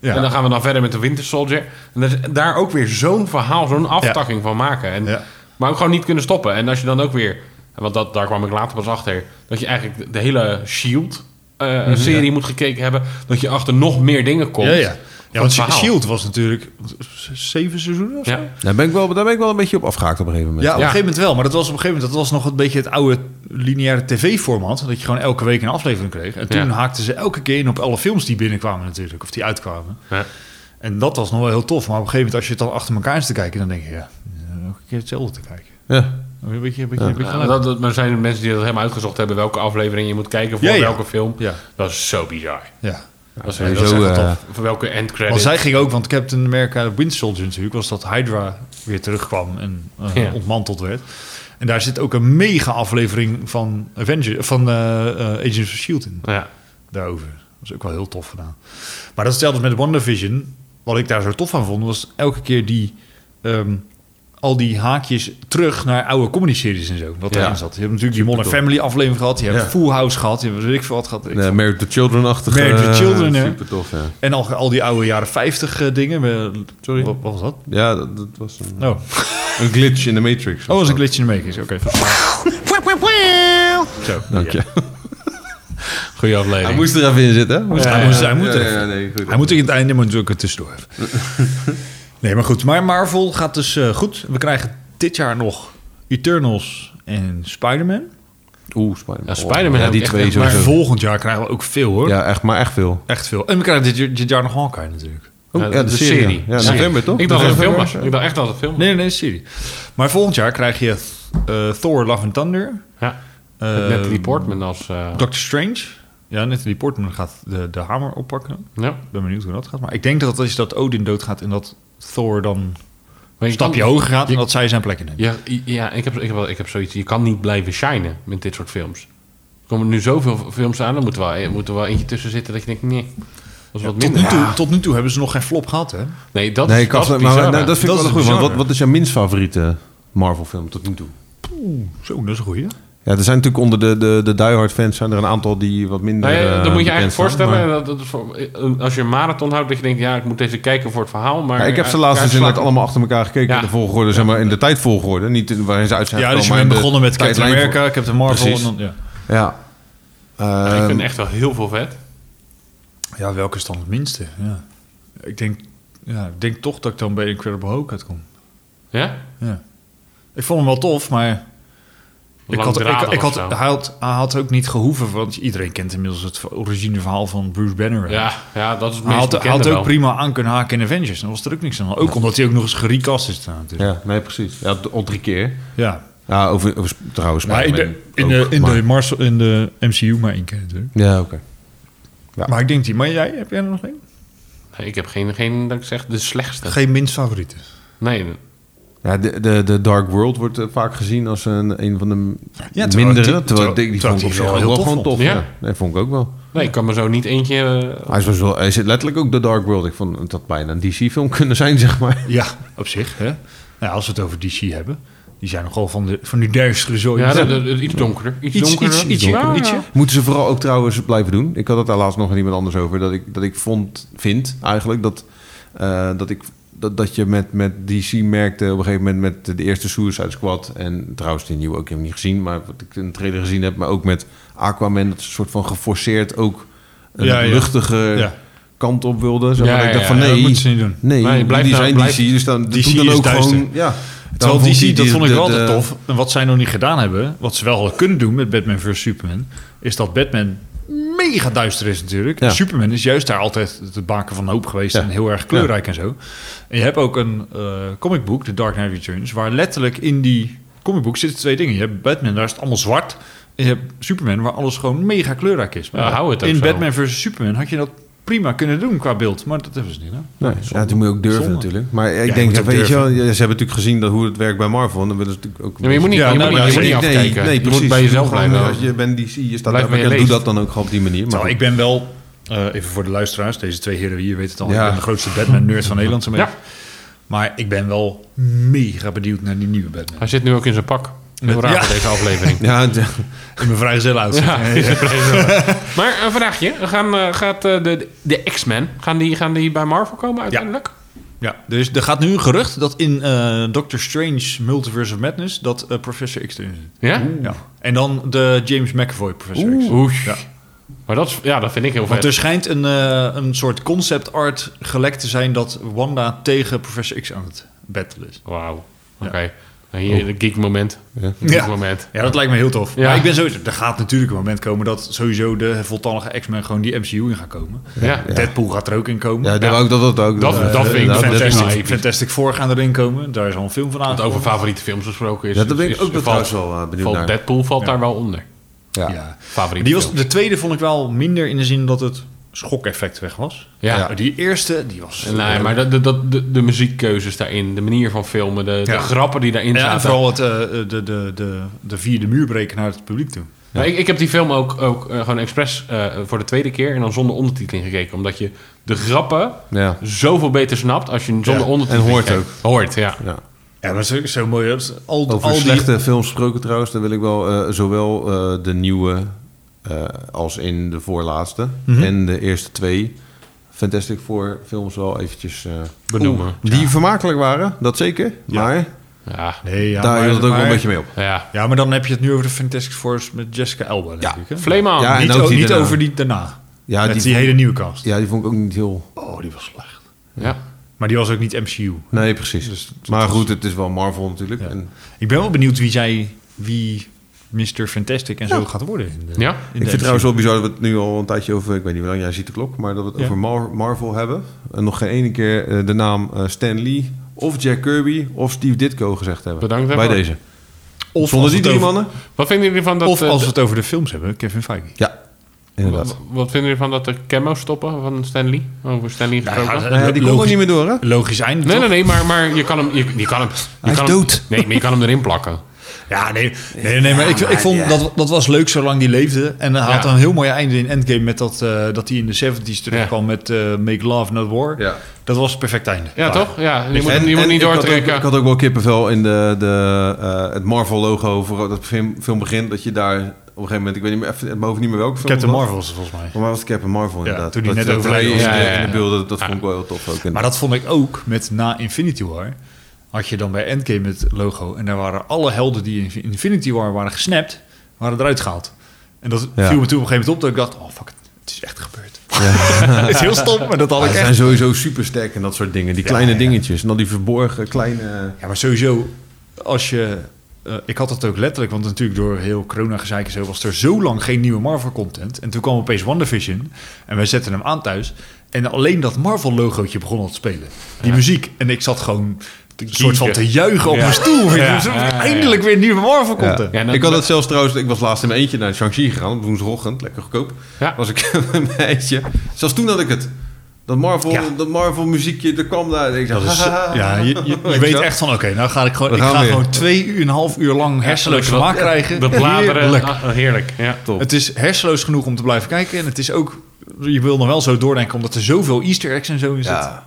Speaker 1: Ja.
Speaker 3: En dan gaan we dan verder met de Winter Soldier. En daar is- daar ook weer zo'n verhaal, zo'n aftakking van maken. En,
Speaker 1: Ja.
Speaker 3: Maar ook gewoon niet kunnen stoppen. En als je dan ook weer, want dat, daar kwam ik later pas achter, dat je eigenlijk de- de hele Shield. eh, serie moet gekeken hebben, dat je achter nog meer dingen komt.
Speaker 1: ja, ja. ja,
Speaker 3: Van
Speaker 1: want
Speaker 3: het verhaal.
Speaker 1: Shield E was natuurlijk zeven seizoenen of zo.
Speaker 3: Ja.
Speaker 2: Daar ben, ik wel, daar ben ik wel een beetje op afgehaakt op een gegeven moment.
Speaker 1: Ja, op
Speaker 3: Ja.
Speaker 1: een gegeven moment wel. Maar dat was op een gegeven moment dat was nog een beetje het oude lineaire tv-format. Dat je gewoon elke week een aflevering kreeg. En toen
Speaker 3: Ja.
Speaker 1: haakten ze elke keer in op alle films die binnenkwamen natuurlijk. Of die uitkwamen.
Speaker 3: Ja.
Speaker 1: En dat was nog wel heel tof. Maar op een gegeven moment als je het dan achter elkaar is te kijken... dan denk je, ja, elke keer hetzelfde te kijken.
Speaker 2: Ja.
Speaker 1: Een beetje, een beetje, een beetje
Speaker 3: Ja, maar
Speaker 1: gelijk.
Speaker 3: dat, dat- maar zijn er mensen die dat helemaal uitgezocht hebben, welke aflevering je moet kijken voor
Speaker 1: Ja, ja.
Speaker 3: welke film?
Speaker 1: Ja.
Speaker 3: Dat is zo bizar.
Speaker 1: ja.
Speaker 3: dat is
Speaker 2: sowieso,
Speaker 3: dat is echt
Speaker 2: eh,
Speaker 3: tof. Voor welke end
Speaker 1: Want
Speaker 3: credit?
Speaker 1: zij ging ook, want Captain America Wind Soldier natuurlijk... was dat Hydra weer terugkwam en eh,
Speaker 3: Ja.
Speaker 1: ontmanteld werd. En daar zit ook een mega aflevering van, Avenger, van eh, eh, Agents of S.H.I.E.L.D. in.
Speaker 3: Ja.
Speaker 1: daarover. Dat is ook wel heel tof gedaan. Maar dat is hetzelfde met WandaVision. Wat ik daar zo tof aan vond, was elke keer die... ehm, al die haakjes terug naar oude comedy-series en zo. Wat
Speaker 3: Ja.
Speaker 1: daarin zat. Je hebt natuurlijk die Modern
Speaker 2: Supertof.
Speaker 1: Family aflevering gehad. Je hebt
Speaker 2: Ja.
Speaker 1: Full House gehad. Je hebt weet ik veel wat gehad. Ik
Speaker 2: Nee,
Speaker 1: vond-
Speaker 2: Married to Children-achtige.
Speaker 1: Married to
Speaker 2: eh,
Speaker 1: Children, hè?
Speaker 2: Super tof, ja.
Speaker 1: En al, al die oude jaren 50 eh, dingen. We-
Speaker 2: Sorry.
Speaker 1: Wat, wat was dat?
Speaker 2: Ja, dat, dat was
Speaker 1: Oh,
Speaker 2: een,
Speaker 1: oh
Speaker 2: een glitch in de Matrix.
Speaker 1: was een glitch in de making. Oké. Zo.
Speaker 2: Dank je.
Speaker 3: Goeie aflevering.
Speaker 2: Hij moest er even in zitten, hè? Moest-
Speaker 1: Ja, hij moest- hij moet er
Speaker 2: Ja, ja,
Speaker 1: even.
Speaker 2: nee, goed.
Speaker 1: Hij moet er in het einde, maar natuurlijk er tussendoor even. nee, maar goed. Maar Marvel gaat dus eh, goed. We krijgen dit jaar nog Eternals en Spider-Man.
Speaker 2: Oeh, Spider-Man.
Speaker 3: Ja, Spider-Man
Speaker 2: Ja, die
Speaker 3: heb ik
Speaker 2: twee
Speaker 3: echt-
Speaker 1: Maar
Speaker 2: sowieso.
Speaker 1: volgend jaar krijgen we ook veel, hoor.
Speaker 2: Ja, echt, maar echt veel.
Speaker 1: Echt veel. En we krijgen dit, jaar- dit jaar nog Hawkeye natuurlijk.
Speaker 2: Oh,
Speaker 3: Ja,
Speaker 2: ja, de, serie. Ja, november toch?
Speaker 3: Ik dacht dat het een film
Speaker 2: November,
Speaker 3: was. Ik dacht echt dat het een film was.
Speaker 1: Nee, nee, nee, serie. Maar volgend jaar krijg je eh, Thor, Love and Thunder.
Speaker 3: Ja.
Speaker 1: eh,
Speaker 3: Met die Portman als... eh,
Speaker 1: Doctor Strange. Ja, Natalie Portman gaat de, de hamer oppakken.
Speaker 3: ja.
Speaker 1: Ik ben benieuwd hoe dat gaat. Maar ik denk dat als je dat Odin doodgaat en dat Thor dan
Speaker 3: Maar
Speaker 1: een
Speaker 3: je
Speaker 1: stapje
Speaker 3: kan-
Speaker 1: hoger gaat... en
Speaker 3: je-
Speaker 1: dat zij zijn plek inneemt.
Speaker 3: Ja, ja ik, heb, ik, heb, wel- ik heb zoiets. Je kan niet blijven shinen met dit soort films. Er komen nu zoveel films aan. Dan moet er wel, moet er wel eentje tussen zitten dat je denkt... Nee, dat is wat
Speaker 1: Tot nu,
Speaker 3: minder.
Speaker 1: toe, tot nu toe hebben ze nog geen flop gehad, hè?
Speaker 3: Nee, dat
Speaker 2: Nee,
Speaker 3: is,
Speaker 2: ik had,
Speaker 3: dat is
Speaker 2: maar,
Speaker 3: bizar.
Speaker 2: nou, dat vind
Speaker 1: Dat
Speaker 2: ik wel
Speaker 1: is
Speaker 2: goed. Want
Speaker 1: bizar.
Speaker 2: wat, wat is jouw minst favoriete Marvel-film tot nu toe?
Speaker 1: Zo, dat is een goeie.
Speaker 2: Ja, er zijn natuurlijk onder de, de, de diehard-fans zijn er een aantal die wat minder.
Speaker 3: Nou ja,
Speaker 2: eh,
Speaker 3: dan moet je
Speaker 2: bekend
Speaker 3: eigenlijk
Speaker 2: staan,
Speaker 3: voorstellen,
Speaker 2: maar-
Speaker 3: dat, dat is voor- eh, als je een marathon houdt, dat je denkt, ja, ik moet deze kijken voor het verhaal. Maar
Speaker 2: Ja, ik heb ze
Speaker 3: eh,
Speaker 2: laatst dus
Speaker 3: kaartslag-
Speaker 2: inderdaad allemaal achter elkaar gekeken
Speaker 3: Ja.
Speaker 2: in de volgorde, zeg maar in de tijdvolgorde. Niet in- waarin ze uit zijn
Speaker 1: Ja, dus je
Speaker 2: gekomen,
Speaker 1: bent
Speaker 2: maar in de
Speaker 1: begonnen met Captain
Speaker 2: tijdlijn
Speaker 1: America, Captain Marvel.
Speaker 2: Precies.
Speaker 1: En dan, ja.
Speaker 2: voor- Ja.
Speaker 3: Ja, ik
Speaker 2: Ehm,
Speaker 3: vind echt wel heel veel vet.
Speaker 1: ja, welke is dan het minste? Ja. Ik, denk, ja, ik denk toch dat ik dan bij Incredible Hulk uitkom.
Speaker 3: Ja?
Speaker 1: Ja. Ik vond hem wel tof, maar... Ik had, ik,
Speaker 3: Langdradig
Speaker 1: ik had,
Speaker 3: of zo.
Speaker 1: hij, had, hij had ook niet gehoeven, want iedereen kent inmiddels het origineverhaal van Bruce Banner.
Speaker 3: Ja, ja, dat is het
Speaker 1: Hij
Speaker 3: meest
Speaker 1: had, hij
Speaker 3: bekende
Speaker 1: had ook
Speaker 3: wel.
Speaker 1: prima aan kunnen haken in Avengers. Dan was er ook niks aan. Ook omdat hij ook nog eens gerecast is. nou, natuurlijk.
Speaker 2: Ja, nee, precies. Ja, d- al drie keer.
Speaker 1: Ja.
Speaker 2: Ja, over, over sp- trouwens.
Speaker 1: Maar in de,
Speaker 2: Spider-Man
Speaker 1: in de,
Speaker 2: ook,
Speaker 1: in
Speaker 2: maar-
Speaker 1: de, Marvel, in de MCU maar één keer natuurlijk.
Speaker 2: Ja, oké. Ja.
Speaker 1: Maar ik denk die. Maar jij, heb jij er nog één?
Speaker 3: Nee, ik heb geen, geen, dat ik zeg, de slechtste.
Speaker 1: Geen minst favoriete.
Speaker 3: Nee,
Speaker 2: Ja, de, de, de Dark World wordt eh, vaak gezien als een, een van de
Speaker 1: Ja, terwijl-
Speaker 2: mindere.
Speaker 1: terwijl-
Speaker 2: Terwijl ik denk, die
Speaker 1: terwijl
Speaker 2: vond ik op
Speaker 1: die
Speaker 2: zich
Speaker 1: wel
Speaker 2: ook wel
Speaker 1: heel
Speaker 2: gewoon
Speaker 1: tof
Speaker 2: tof.
Speaker 3: vond.
Speaker 2: Ja.
Speaker 3: Ja.
Speaker 2: Nee, vond ik ook wel.
Speaker 3: nee, ik kan me zo niet eentje... eh,
Speaker 2: Hij, is wel, hij zit letterlijk ook de Dark World. Ik vond het had bijna een DC-film kunnen zijn, zeg maar.
Speaker 1: Ja, op zich. Hè? Nou, ja, als we het over DC hebben. Die zijn nogal van, de, van die duistere zooi.
Speaker 3: ja, dat- dat- dat- eh, iets donkerder. Iets,
Speaker 1: Iets-
Speaker 3: donkerder.
Speaker 1: iets- ietsje-
Speaker 3: Ja, ja.
Speaker 1: ietsje.
Speaker 2: Moeten ze vooral ook trouwens blijven doen. Ik had het daar laatst nog met iemand anders over. Dat ik, dat ik vond, vind eigenlijk dat, eh, dat, ik, dat, dat je met, met DC merkte op een gegeven moment met de eerste Suicide Squad. En trouwens, die nieuwe ook, ik heb hem niet gezien. Maar wat ik in de trailer gezien heb. Maar ook met Aquaman. Dat ze een soort van geforceerd ook een
Speaker 1: Ja, ja.
Speaker 2: luchtige
Speaker 1: Ja.
Speaker 2: kant op wilden. Zeg maar.
Speaker 3: Ja,
Speaker 2: Dat ik dacht
Speaker 3: ja,
Speaker 2: van
Speaker 1: Ja, dat
Speaker 2: nee.
Speaker 1: moeten ze niet doen.
Speaker 2: Nee,
Speaker 3: Nee, blijf
Speaker 2: die
Speaker 3: nou-
Speaker 2: zijn
Speaker 3: blijf-
Speaker 2: DC. Dus dan, doe
Speaker 1: DC
Speaker 2: dan
Speaker 1: is
Speaker 2: ook
Speaker 1: duister.
Speaker 2: gewoon... Ja,
Speaker 1: Terwijl
Speaker 2: Dan
Speaker 1: DC,
Speaker 2: vond ik
Speaker 1: dat
Speaker 2: die-
Speaker 1: vond ik
Speaker 2: de-
Speaker 1: wel
Speaker 2: de-
Speaker 1: altijd tof. En wat zij nog niet gedaan hebben, wat ze wel hadden kunnen doen met Batman vs. Superman, is dat Batman mega duister is natuurlijk.
Speaker 2: Ja.
Speaker 1: Superman is juist daar altijd het baken van de hoop geweest
Speaker 2: Ja.
Speaker 1: en heel erg kleurrijk en zo. En je hebt ook een eh, comicboek, The Dark Knight Returns, waar letterlijk in die comicboek zitten twee dingen. Je hebt Batman, daar is het allemaal zwart. En je hebt Superman, waar alles gewoon mega kleurrijk is.
Speaker 3: Ja, hou het ook
Speaker 1: in
Speaker 3: zo.
Speaker 1: Batman vs. Superman had je dat prima kunnen doen qua beeld, maar dat hebben ze niet. Hè?
Speaker 2: Nee, ja, die moet je ook durven
Speaker 1: Zonde.
Speaker 2: natuurlijk. Maar ik
Speaker 1: je
Speaker 2: denk,
Speaker 1: moet
Speaker 2: dat,
Speaker 1: ook
Speaker 2: weet je wel,
Speaker 1: durven.
Speaker 2: ze hebben natuurlijk gezien dat, hoe het werkt bij Marvel. En dan willen ze natuurlijk ook...
Speaker 3: Ja, maar je moet niet,
Speaker 1: Ja,
Speaker 3: je
Speaker 1: nou,
Speaker 3: moet niet, je
Speaker 1: ja,
Speaker 3: moet niet
Speaker 2: nee,
Speaker 3: afkijken.
Speaker 2: nee,
Speaker 3: je
Speaker 2: precies.
Speaker 3: moet bij jezelf
Speaker 2: Gewoon, eh,
Speaker 3: blijven.
Speaker 2: Als je bent DC, je staat
Speaker 3: Blijf
Speaker 2: daar
Speaker 3: bij je
Speaker 2: bekend, doe
Speaker 3: leest.
Speaker 2: dat dan ook gewoon op die manier. Maar
Speaker 1: Terwijl ik ben wel, eh, even voor de luisteraars, deze twee heren hier weten het al,
Speaker 2: Ja.
Speaker 1: ik ben de grootste Batman-nerd van Nederland zo'n beetje.
Speaker 3: Ja.
Speaker 1: Maar ik ben wel mega benieuwd naar die nieuwe Batman.
Speaker 3: Hij zit nu ook in zijn pak. Heel
Speaker 1: Met-
Speaker 3: raar
Speaker 1: Ja.
Speaker 3: voor deze aflevering.
Speaker 2: ja, ja,
Speaker 1: In mijn vrijgezel outfit.
Speaker 3: Ja,
Speaker 1: Ja.
Speaker 3: is een prijs. maar een vraagje. Gaan, eh, gaat eh, de, de X-Men, gaan die, gaan die bij Marvel komen uiteindelijk?
Speaker 1: Ja, dus er gaat nu een gerucht dat in eh, Doctor Strange Multiverse of Madness dat eh, Professor X erin zit.
Speaker 3: Ja?
Speaker 1: Ja. En dan de James McAvoy Professor X.
Speaker 3: Oeh.
Speaker 1: Ja.
Speaker 3: Maar dat, is- ja, dat vind ik heel
Speaker 1: Want er
Speaker 2: dus-
Speaker 3: vet.
Speaker 1: schijnt een, eh, een soort concept art gelekt te zijn dat Wanda tegen Professor X aan het battelen is.
Speaker 3: Wauw.
Speaker 1: Ja.
Speaker 3: Oké. Nou, Hier een geek moment.
Speaker 2: Oh. Ja.
Speaker 3: Een geek moment.
Speaker 1: Ja, dat lijkt me heel tof.
Speaker 3: Ja.
Speaker 1: Maar ik ben sowieso... Er gaat natuurlijk een moment komen dat sowieso de voltallige X-Men gewoon die MCU in gaan komen.
Speaker 3: Ja.
Speaker 1: Deadpool gaat er ook in komen.
Speaker 2: ja, dat wou ik dat dat ook.
Speaker 3: Dat-
Speaker 2: eh,
Speaker 3: dat vind ik
Speaker 2: dat-
Speaker 3: fantastisch.
Speaker 2: dat-
Speaker 1: Fantastic, Fantastic Four gaan erin komen. Daar is al een film van
Speaker 3: Want
Speaker 1: aan.
Speaker 3: over favoriete films gesproken is...
Speaker 2: Ja, dat ben ik
Speaker 3: is-
Speaker 2: ook wel
Speaker 3: valt-
Speaker 2: trouwens wel, eh, benieuwd
Speaker 3: valt
Speaker 2: naar.
Speaker 3: Deadpool valt daar wel onder.
Speaker 2: Ja.
Speaker 1: Ja.
Speaker 3: Favoriete
Speaker 1: Die was,
Speaker 3: film.
Speaker 1: de tweede vond ik wel minder in de zin dat het schokeffect weg was.
Speaker 3: Ja.
Speaker 1: Maar Die eerste, die was...
Speaker 2: Ehm,
Speaker 1: eh,
Speaker 3: Nee, maar dat, dat, de, de muziekkeuzes daarin, de manier van filmen, de, de
Speaker 1: Ja.
Speaker 3: grappen die daarin
Speaker 1: Ja,
Speaker 3: zaten.
Speaker 1: en vooral het, eh, de, de, de, de vierde muur breken naar het publiek toe.
Speaker 3: Ja. Maar ik, ik heb die film ook, ook eh, gewoon expres eh, voor de tweede keer en dan zonder ondertiteling gekeken. Omdat je de grappen
Speaker 2: Ja.
Speaker 3: zoveel beter snapt als je hem zonder
Speaker 1: Ja,
Speaker 3: ondertiteling
Speaker 2: en hoort
Speaker 3: kijkt.
Speaker 2: ook.
Speaker 3: Hoort, ja.
Speaker 2: Ja.
Speaker 1: Ja, maar zo, zo mooi. hè. Al,
Speaker 2: Over
Speaker 1: al die,
Speaker 2: slechte films gesproken trouwens, dan wil ik wel eh, zowel eh, de nieuwe eh, als in de voorlaatste
Speaker 1: Mhm.
Speaker 2: en de eerste twee Fantastic Four films wel eventjes eh,
Speaker 3: Benoemen.
Speaker 2: oeh, die vermakelijk waren, dat zeker.
Speaker 1: Ja.
Speaker 2: Maar
Speaker 3: Ja,
Speaker 1: Nee, ja,
Speaker 2: daar
Speaker 1: maar-
Speaker 2: hield het ook wel
Speaker 1: maar-
Speaker 2: een beetje mee op.
Speaker 3: ja.
Speaker 1: Ja, maar dan heb je het nu over de Fantastic Force met Jessica Elba, denk
Speaker 2: Ja,
Speaker 1: ik. Hè?
Speaker 3: Vleeman.
Speaker 2: Ja, en
Speaker 1: niet
Speaker 2: ook
Speaker 1: o-
Speaker 2: die
Speaker 1: niet
Speaker 2: daarna.
Speaker 1: over die daarna.
Speaker 2: Ja,
Speaker 1: met die,
Speaker 2: die vond-
Speaker 1: hele nieuwe cast.
Speaker 2: Ja, die vond ik ook niet heel...
Speaker 1: Oh, die was slecht.
Speaker 3: ja.
Speaker 1: Maar die was ook niet MCU.
Speaker 2: Nee, precies. maar goed, het is wel Marvel natuurlijk.
Speaker 1: Ja.
Speaker 2: En
Speaker 1: Ik ben wel benieuwd wie zij, wie Mr. Fantastic en zo gaat worden. in de-
Speaker 3: Ja.
Speaker 1: in de
Speaker 2: ik vind
Speaker 1: MCU.
Speaker 2: het trouwens wel bizar dat we het nu al een tijdje over... Ik weet niet hoe lang jij ziet de klok, maar dat we het
Speaker 1: Ja.
Speaker 2: over Mar- Marvel hebben. En nog geen ene keer eh, de naam eh, Stan Lee of Jack Kirby of Steve Ditko gezegd hebben.
Speaker 3: Bedankt
Speaker 2: Bij
Speaker 3: daarvoor.
Speaker 2: deze.
Speaker 1: Of
Speaker 2: Zonder
Speaker 1: als
Speaker 2: die
Speaker 1: het
Speaker 2: drie
Speaker 1: over-
Speaker 2: mannen?
Speaker 3: Wat vinden jullie van dat...
Speaker 1: Of
Speaker 3: eh,
Speaker 1: als we
Speaker 3: de-
Speaker 1: het over de films hebben, Kevin Feige.
Speaker 2: Ja, inderdaad.
Speaker 3: wat vinden jullie van dat de camo stoppen van Stanley? Over Stanley gesproken?
Speaker 1: ja,
Speaker 2: Nou ja, die komt er
Speaker 1: logisch,
Speaker 2: niet meer door, hè?
Speaker 1: logisch einde,
Speaker 3: Nee,
Speaker 1: toch?
Speaker 3: nee, nee, maar, maar je kan hem... Je, je kan hem je
Speaker 2: Hij is
Speaker 3: kan hem-
Speaker 2: dood.
Speaker 3: Nee, maar je kan hem erin plakken.
Speaker 1: Ja, nee, nee, nee maar ik, ik vond dat, dat was leuk zolang die leefde. En hij had
Speaker 3: Ja.
Speaker 1: een heel mooi einde in Endgame met dat, eh, dat hij in de 70s terugkwam met eh, Make Love Not War.
Speaker 2: Ja.
Speaker 1: Dat was het perfect einde.
Speaker 3: Ja, toch? Ja, je moet,
Speaker 2: En-
Speaker 3: je moet
Speaker 2: en
Speaker 3: niet
Speaker 2: ik had ook- Ik,
Speaker 3: doortrekken.
Speaker 2: had ook wel kippenvel in de, de, eh, het Marvel-logo voor dat film, film begint. Dat je daar op een gegeven moment, ik weet niet meer, even, het mogen niet meer welke film.
Speaker 1: Captain
Speaker 2: het was.
Speaker 1: Marvel was het volgens mij.
Speaker 2: Voor mij was het Captain Marvel
Speaker 1: Ja,
Speaker 2: inderdaad.
Speaker 1: toen die
Speaker 2: dat,
Speaker 1: net
Speaker 2: dat hij
Speaker 1: overleden
Speaker 2: in
Speaker 3: was.
Speaker 2: de-
Speaker 3: Ja, ja, ja.
Speaker 2: In de beelden, dat vond ik wel heel tof ook.
Speaker 1: Maar dat vond ik ook met na Infinity War. Had je dan bij Endgame het logo. En daar waren alle helden die in Infinity War waren gesnapt, waren eruit gehaald. En dat viel me
Speaker 2: Ja.
Speaker 1: toen op een gegeven moment op dat ik dacht, oh fuck, it, het is echt gebeurd. het is heel stom, maar dat had
Speaker 2: Ja,
Speaker 1: ik
Speaker 2: Ah, ze
Speaker 1: echt.
Speaker 2: zijn sowieso super sterk en dat soort dingen. Die kleine dingetjes. En al die verborgen kleine...
Speaker 1: Ja, maar sowieso, als je... eh, ik had dat ook letterlijk, want natuurlijk door heel corona-gezeik en zo... was er zo lang geen nieuwe Marvel-content. En toen kwam opeens WandaVision en wij zetten hem aan thuis. En alleen dat Marvel-logootje begon al te spelen. Die muziek. En ik zat gewoon een soort van te juichen op
Speaker 3: Ja.
Speaker 1: mijn stoel. weet je.
Speaker 3: Ja,
Speaker 1: Zo,
Speaker 3: ja, ja.
Speaker 1: Eindelijk weer nieuwe Marvel-content.
Speaker 3: Ja, en dat-
Speaker 2: ik had het zelfs trouwens, ik was laatst in mijn eentje naar Shang-Chi gegaan op woensdagochtend, lekker goedkoop.
Speaker 3: Ja.
Speaker 2: Was ik in mijn eentje. Zelfs toen had ik het. Dat Marvel,
Speaker 1: Ja.
Speaker 2: dat Marvel muziekje, er kwam daar. En Ik dacht,
Speaker 1: Dat is, ja, je, je, je
Speaker 2: Weet je
Speaker 1: weet
Speaker 2: wel?
Speaker 1: echt van, oké, nou ga ik gewoon,
Speaker 2: We
Speaker 1: ik
Speaker 2: gaan
Speaker 1: ga
Speaker 2: weer.
Speaker 1: gewoon twee uur, een half uur lang hersenloos
Speaker 3: dat-
Speaker 1: smaak krijgen.
Speaker 3: Dat bladeren.
Speaker 1: Heerlijk.
Speaker 3: ah, ah, heerlijk. Ja.
Speaker 2: top.
Speaker 1: Het is hersenloos genoeg om te blijven kijken. En het is ook, je wil nog wel zo doordenken, omdat er zoveel easter eggs en zo in zit.
Speaker 2: Ja.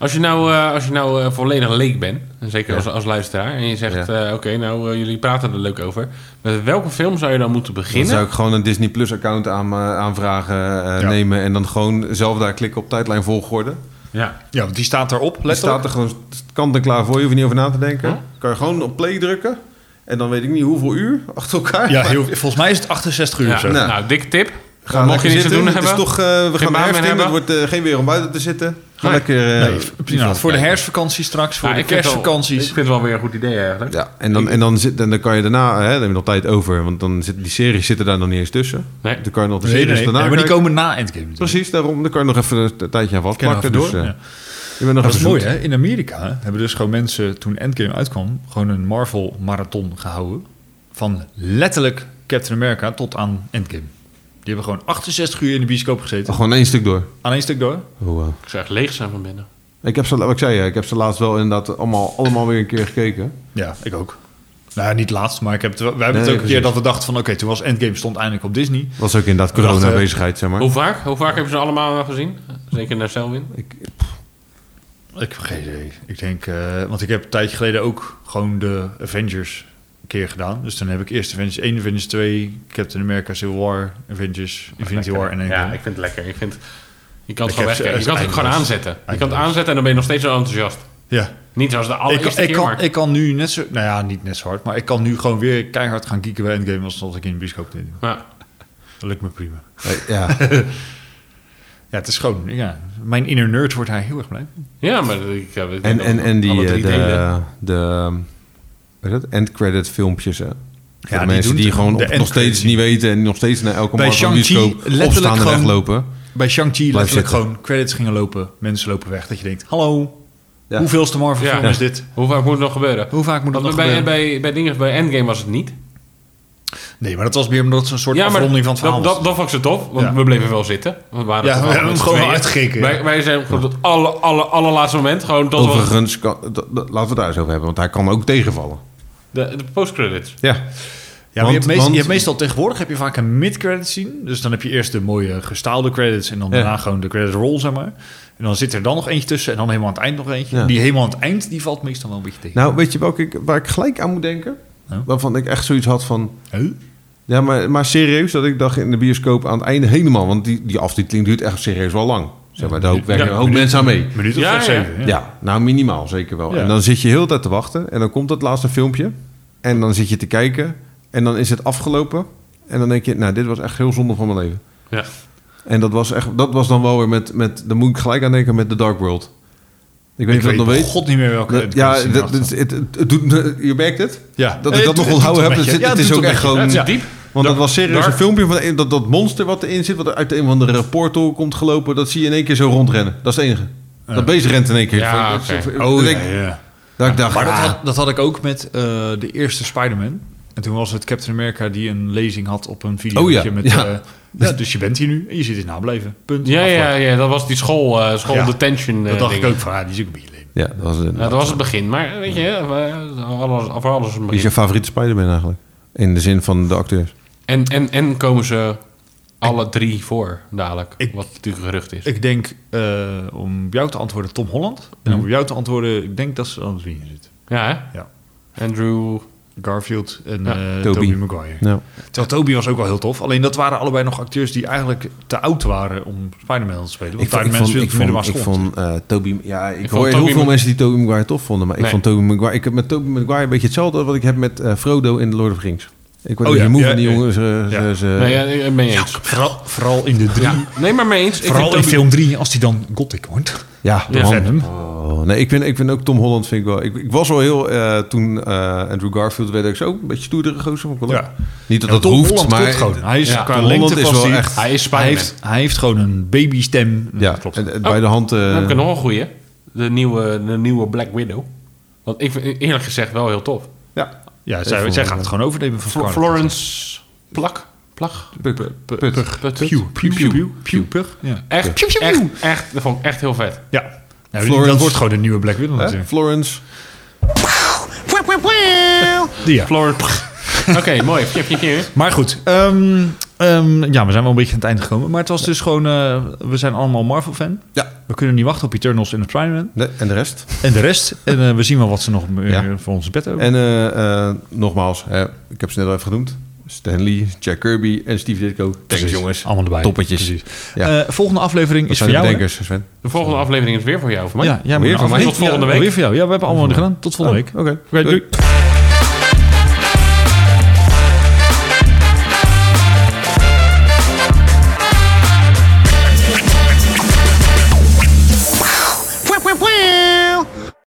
Speaker 3: Als je nou, eh, als je nou eh, volledig leek bent, en zeker als, als luisteraar, en je zegt:
Speaker 2: Ja.
Speaker 3: eh, Oké, nou, eh, jullie praten er leuk over. Met welke film zou je dan moeten
Speaker 2: Dan
Speaker 3: beginnen?
Speaker 2: zou ik gewoon een Disney Plus account aan, eh, aanvragen, eh,
Speaker 1: Ja.
Speaker 2: nemen en dan gewoon zelf daar klikken op tijdlijn volgorde.
Speaker 3: Ja.
Speaker 1: Ja, want die staat erop,
Speaker 2: Die
Speaker 1: letterlijk.
Speaker 2: staat er gewoon kant en klaar voor, je hoeft er niet over na te denken. Kan je gewoon op play drukken en dan weet ik niet hoeveel uur achter elkaar.
Speaker 1: ja, heel, volgens mij is het 68 uur
Speaker 3: Ja,
Speaker 1: of zo.
Speaker 3: nou, dikke tip.
Speaker 2: Ga
Speaker 3: Mocht
Speaker 2: lekker
Speaker 3: je niks te
Speaker 2: zitten. Het
Speaker 3: doen hebben. Nou,
Speaker 2: is toch, eh, we gaan de
Speaker 3: baan
Speaker 2: herfst
Speaker 3: meer
Speaker 2: in. Het
Speaker 3: hebben.
Speaker 2: wordt eh, geen weer om buiten te zitten. Ga
Speaker 3: Nee.
Speaker 2: lekker... eh,
Speaker 1: Nee, prima. Nou, Voor de herfstvakantie straks, voor
Speaker 3: Ja,
Speaker 1: de
Speaker 3: ik vind het wel- Ik
Speaker 1: kerstvakanties.
Speaker 3: vind het wel weer een goed idee eigenlijk.
Speaker 2: Ja, en dan, en dan, zit, en dan kan je daarna, eh, hè, dan heb je nog tijd over, want dan zit, die series zitten daar nog niet eens tussen.
Speaker 3: Nee.
Speaker 2: Dan kan je nog de
Speaker 1: Nee, nee,
Speaker 2: series
Speaker 1: nee,
Speaker 2: daarna
Speaker 1: maar die
Speaker 2: kijken.
Speaker 1: komen na Endgame. natuurlijk.
Speaker 2: Precies, daarom. Dan kan je nog even een tijdje aan
Speaker 1: Kennen
Speaker 2: vastplakken.
Speaker 1: we
Speaker 2: Dus,
Speaker 1: even door,
Speaker 2: eh,
Speaker 1: ja.
Speaker 2: je bent nog
Speaker 1: Dat is
Speaker 2: even
Speaker 1: mooi,
Speaker 2: zoet.
Speaker 1: hè? In Amerika hè, hebben dus gewoon mensen, toen Endgame uitkwam, gewoon een Marvel-marathon gehouden. Van letterlijk Captain America tot aan Endgame. Die hebben gewoon 68 uur in de bioscoop gezeten.
Speaker 2: Gewoon één stuk door.
Speaker 1: Aan één stuk door.
Speaker 2: Oh, wow.
Speaker 3: Ik zou echt leeg zijn van binnen.
Speaker 2: Ik heb ze, wat ik zei, hè, ik heb ze laatst wel inderdaad allemaal, allemaal weer een keer gekeken.
Speaker 1: Ja, ik ook. Nou, niet laatst, maar ik heb het, wel- wij hebben het
Speaker 2: Nee,
Speaker 1: ook een keer
Speaker 2: precies.
Speaker 1: dat we dachten van... oké, toen was Endgame stond eindelijk op Disney.
Speaker 2: Was ook inderdaad
Speaker 1: Wacht, eh,
Speaker 2: corona-bezigheid, zeg maar.
Speaker 3: Hoe vaak? Hoe vaak hebben ze allemaal wel gezien? Zeker naar Selwyn.
Speaker 2: Ik,
Speaker 1: Ik heb geen idee. Ik denk, eh, want ik heb een tijdje geleden ook gewoon de Avengers een keer gedaan. Dus dan heb ik eerst Avengers 1, Avengers 2, Captain America, Civil War, Avengers, Infinity War en
Speaker 3: Ja,
Speaker 1: Endgame.
Speaker 3: ik vind het lekker. Ik vind, je kan het
Speaker 1: heb
Speaker 3: gewoon
Speaker 1: ze
Speaker 3: wegkijken. Je
Speaker 1: echt
Speaker 3: kan het ook gewoon
Speaker 1: eindeloos.
Speaker 3: aanzetten. Je kan het
Speaker 1: Eindeloos.
Speaker 3: aanzetten en dan ben je nog steeds zo enthousiast.
Speaker 1: ja.
Speaker 3: Niet zoals de
Speaker 1: Ik,
Speaker 3: allereerste
Speaker 1: ik,
Speaker 3: keer,
Speaker 1: kan,
Speaker 3: maar...
Speaker 1: ik kan nu net zo... Nou ja, niet net zo hard. Maar ik kan nu gewoon weer keihard gaan kieken bij Endgame... als dat ik in de bioscoop deed.
Speaker 3: Ja.
Speaker 1: Dat lukt me prima.
Speaker 2: eh, ja.
Speaker 1: Ja, het is gewoon... Ja, mijn inner nerd wordt daar heel erg blij van.
Speaker 3: Ja, maar ik heb ik
Speaker 2: En,
Speaker 3: denk
Speaker 2: en,
Speaker 3: ook
Speaker 2: en die,
Speaker 3: alle
Speaker 2: eh,
Speaker 3: drie delen.
Speaker 2: de, de, hoe heet dat? end-credit filmpjes, hè. Voor
Speaker 1: Ja,
Speaker 2: de
Speaker 1: die
Speaker 2: mensen
Speaker 1: doen
Speaker 2: die
Speaker 1: het.
Speaker 2: gewoon
Speaker 1: De
Speaker 2: op, nog
Speaker 1: end-credit
Speaker 2: steeds niet weten... en nog steeds naar elke
Speaker 1: Bij
Speaker 2: Marvel
Speaker 1: Shang-Chi
Speaker 2: bioscoop
Speaker 1: letterlijk
Speaker 2: opstaan en
Speaker 1: gewoon-
Speaker 2: weglopen.
Speaker 1: Bij Shang-Chi letterlijk
Speaker 2: zitten.
Speaker 1: gewoon credits gingen lopen. Mensen lopen weg. Dat je denkt, hallo,
Speaker 2: Ja.
Speaker 1: hoeveelste Marvel
Speaker 3: Ja.
Speaker 1: film is dit?
Speaker 3: Hoe vaak moet het nog gebeuren?
Speaker 1: Hoe vaak moet dat
Speaker 3: Want
Speaker 1: nog
Speaker 3: bij,
Speaker 1: gebeuren?
Speaker 3: bij, bij, dingen, bij Endgame was het niet.
Speaker 1: Nee, maar dat was meer omdat ze een soort
Speaker 3: Ja, maar
Speaker 1: afronding van het verhaal
Speaker 3: dat, dat,
Speaker 1: was.
Speaker 3: dat vond ik ze tof, want
Speaker 1: Ja.
Speaker 3: we bleven wel zitten. We, waren
Speaker 1: Ja,
Speaker 3: toch
Speaker 1: we
Speaker 3: wel
Speaker 1: hebben
Speaker 3: met
Speaker 1: hem
Speaker 3: z'n
Speaker 1: gewoon
Speaker 3: tweeën.
Speaker 1: uitgekeken, ja.
Speaker 3: Wij, wij zijn gewoon tot het alle, alle, allerlaatste moment. Gewoon tot we-
Speaker 2: Overigens, kan, dat- dat- laten we het daar eens over hebben, want hij kan ook tegenvallen.
Speaker 3: de, de postcredits.
Speaker 2: Ja,
Speaker 1: Ja, maar je,
Speaker 2: Want-
Speaker 1: hebt meest-
Speaker 2: want-
Speaker 1: je hebt meestal tegenwoordig heb je vaak een mid-credit scene. Dus dan heb je eerst de mooie gestaalde credits en dan
Speaker 2: Ja.
Speaker 1: daarna gewoon de credit roll, zeg maar. En dan zit er dan nog eentje tussen en dan helemaal aan het eind nog eentje.
Speaker 2: Ja.
Speaker 1: Die helemaal aan het eind, die valt meestal wel een beetje tegen.
Speaker 2: nou weet je welke, ik- waar ik gelijk aan moet denken?
Speaker 1: Nou?
Speaker 2: Waarvan ik echt zoiets had van...
Speaker 1: Huh?
Speaker 2: Ja, maar, maar serieus, dat ik dacht in de bioscoop aan het einde helemaal... want die, die aftiteling duurt echt serieus wel lang. Zeg maar, daar ook- werken
Speaker 3: Ja.
Speaker 2: ook mensen aan mee.
Speaker 1: Minuut of
Speaker 3: Ja,
Speaker 1: zes,
Speaker 3: ja.
Speaker 1: zeven,
Speaker 2: Ja. nou minimaal zeker wel.
Speaker 1: Ja.
Speaker 2: En dan zit je heel de tijd te wachten en dan komt dat laatste filmpje en dan zit je te kijken en dan is het afgelopen en dan denk je, nou dit was echt heel zonde van mijn leven.
Speaker 3: Ja.
Speaker 2: En dat was, echt, dat was dan wel weer met, met, daar moet ik gelijk aan denken met The Dark World. Ik weet
Speaker 1: Ik
Speaker 2: niet
Speaker 1: weet
Speaker 2: of je dat nog
Speaker 1: bij
Speaker 2: weet.
Speaker 1: god niet meer welke
Speaker 2: Dat-
Speaker 1: credit
Speaker 2: ja,
Speaker 1: scene
Speaker 2: dat,
Speaker 1: erachter
Speaker 2: het, het, het doet, je merkt het?
Speaker 1: zat. ja,
Speaker 2: Dat
Speaker 1: Eh,
Speaker 2: ik
Speaker 1: het-
Speaker 2: dat nog
Speaker 1: het
Speaker 2: onthouden
Speaker 1: doet
Speaker 2: heb,
Speaker 1: een
Speaker 2: het,
Speaker 1: beetje.
Speaker 2: het,
Speaker 1: Ja,
Speaker 2: is
Speaker 1: doet
Speaker 2: ook
Speaker 1: een
Speaker 2: echt
Speaker 1: beetje.
Speaker 2: gewoon...
Speaker 3: Het is
Speaker 1: Ja.
Speaker 3: diep.
Speaker 2: Want dat
Speaker 3: Dark-
Speaker 2: was serieus
Speaker 3: Dark.
Speaker 2: een filmpje van dat, dat monster wat erin zit, wat uit een van de portal komt gelopen, dat zie je in één keer zo rondrennen. Dat is het enige. Dat beest rent in één keer.
Speaker 3: Ja,
Speaker 2: Dat- dat-
Speaker 3: oké.
Speaker 2: dat-
Speaker 1: Oh,
Speaker 2: dat-
Speaker 1: ja, ja.
Speaker 2: dat ik dacht,
Speaker 1: Maar dat
Speaker 2: ah,
Speaker 1: had, dat had ik ook met eh, de eerste Spider-Man. En toen was het Captain America die een lezing had op een video.
Speaker 2: Oh ja,
Speaker 1: met,
Speaker 2: ja.
Speaker 1: eh, dus, dus je bent hier nu en je zit hier nablijven. Punt.
Speaker 3: Ja, ja,
Speaker 1: Afgelopen.
Speaker 3: ja, dat was die school, eh, school
Speaker 1: Ja.
Speaker 3: detention eh,
Speaker 1: Dat dacht
Speaker 3: ding.
Speaker 1: ik ook van, ah, die is ook een beetje leem.
Speaker 2: Ja, dat was een,
Speaker 3: Ja, dat was het begin, maar weet je, eh, alles, voor alles een
Speaker 2: Wie is
Speaker 3: begin.
Speaker 2: je favoriete Spider-Man eigenlijk? In de zin van de acteurs.
Speaker 3: En, en, en komen ze alle drie voor dadelijk,
Speaker 1: Ik-
Speaker 3: wat natuurlijk gerucht is.
Speaker 1: Ik denk, eh, om jou te antwoorden, Tom Holland. En om jou te antwoorden, ik denk dat ze anders wie in zit.
Speaker 3: ja, hè?
Speaker 1: Ja.
Speaker 3: Andrew,
Speaker 1: Garfield en
Speaker 3: Ja,
Speaker 1: eh,
Speaker 2: Tobey.
Speaker 1: Tobey Maguire.
Speaker 2: Ja.
Speaker 1: Terwijl Tobey was ook wel heel tof. Alleen dat waren allebei nog acteurs die eigenlijk te oud waren om Spider-Man te spelen. Want Spider-Man speelt op de middelbare
Speaker 2: ik
Speaker 1: school.
Speaker 2: vond eh Toby... Ja, ik,
Speaker 3: Ik vond
Speaker 2: hoor heel
Speaker 3: Tobey
Speaker 2: veel
Speaker 3: Ma-
Speaker 2: mensen die Toby Maguire tof vonden. Maar ik
Speaker 3: Nee.
Speaker 2: vond Toby Maguire... Ik heb met Toby Maguire een beetje hetzelfde... als wat ik heb met eh, Frodo in The Lord of the Rings. Ik word
Speaker 1: Oh
Speaker 2: oh,
Speaker 1: ja,
Speaker 2: moe
Speaker 1: ja,
Speaker 2: van die
Speaker 1: ja.
Speaker 2: jongens. eh,
Speaker 1: Ja.
Speaker 2: ze- ze-
Speaker 3: nee, ja, eh, mee eens.
Speaker 1: Vooral, vooral in de drie.
Speaker 3: Nee, maar mee eens. Ik
Speaker 1: Vooral
Speaker 3: vind
Speaker 1: in
Speaker 3: Toby-
Speaker 1: film 3, als hij dan Gothic wordt.
Speaker 2: Ja, de
Speaker 3: Ja.
Speaker 2: man.
Speaker 1: Venom.
Speaker 2: Oh, wel. Nee, ik vind, ik vind ook Tom Holland vind ik wel... Ik, ik was wel heel... eh, toen eh, Andrew Garfield werd ik zo een beetje stoerdere gozer. vond ik wel
Speaker 1: Ja.
Speaker 2: leuk. Niet dat
Speaker 1: Ja,
Speaker 2: dat
Speaker 1: Tom
Speaker 2: hoeft,
Speaker 1: Holland
Speaker 2: maar...
Speaker 1: klopt gewoon. Hij is
Speaker 3: Ja,
Speaker 1: qua
Speaker 2: Tom
Speaker 1: lengte
Speaker 2: Holland is
Speaker 1: past
Speaker 2: wel
Speaker 1: hij-
Speaker 2: echt-
Speaker 3: Hij
Speaker 1: Hij
Speaker 3: is Spider-Man.
Speaker 1: heeft, hij heeft gewoon een babystem.
Speaker 2: Ja,
Speaker 1: klopt.
Speaker 2: en- en
Speaker 3: Oh,
Speaker 2: bij de hand... eh,
Speaker 3: Dan heb ik er nog een goeie. De nieuwe, de nieuwe Black Widow. Want ik vind eerlijk gezegd wel heel tof.
Speaker 2: ja,
Speaker 1: Ja, zij,
Speaker 2: vond
Speaker 1: zij
Speaker 2: ik
Speaker 1: gaat het gewoon overnemen van
Speaker 3: Fl-
Speaker 1: Scarlett.
Speaker 3: Florence Plak? Plak?
Speaker 2: put, put.
Speaker 3: Put-
Speaker 1: Pew, pew, pew, pew, pew. Ja.
Speaker 3: Echt,
Speaker 1: Pew, pew, pew.
Speaker 3: echt, echt, dat vond ik echt heel vet.
Speaker 1: ja. Nou,
Speaker 2: Florence.
Speaker 1: dat wordt gewoon de nieuwe Black Widow
Speaker 2: Hè?
Speaker 1: natuurlijk.
Speaker 2: Florence.
Speaker 1: Die, ja.
Speaker 3: Florence. Oké, mooi. Pjep, pjep, pjep.
Speaker 1: Maar goed, ehm, ehm, ja, we zijn wel een beetje aan het eind gekomen. Maar het was dus gewoon, eh, we zijn allemaal Marvel-fan.
Speaker 2: Ja,
Speaker 1: We kunnen niet wachten op Eternals en Spider-Man.
Speaker 2: de- en de rest.
Speaker 1: En de rest. En eh, we zien wel wat ze nog eh,
Speaker 2: Ja.
Speaker 1: voor ons bed hebben.
Speaker 2: En eh, eh, nogmaals, hè, ik heb ze net al even genoemd. Stanley, Jack Kirby en Steve Ditko. Thanks
Speaker 1: Precies.
Speaker 2: jongens.
Speaker 1: Allemaal erbij.
Speaker 2: Toppetjes.
Speaker 1: Precies.
Speaker 2: Ja.
Speaker 1: Eh, volgende aflevering
Speaker 2: Dat
Speaker 1: is voor
Speaker 2: zijn
Speaker 1: jou.
Speaker 2: de
Speaker 1: hè?
Speaker 2: bedenkers, Sven.
Speaker 3: De volgende aflevering is weer voor jou, voor mij.
Speaker 1: Ja, jij
Speaker 2: Weer
Speaker 1: moet
Speaker 2: van
Speaker 1: een
Speaker 2: mij.
Speaker 1: aflevering-
Speaker 3: Tot volgende
Speaker 1: Ja,
Speaker 3: week.
Speaker 1: Weer voor jou. Ja, we hebben allemaal gedaan. Tot volgende week.
Speaker 2: Oké.
Speaker 1: Oké,
Speaker 2: Oh, Doei.
Speaker 1: doei.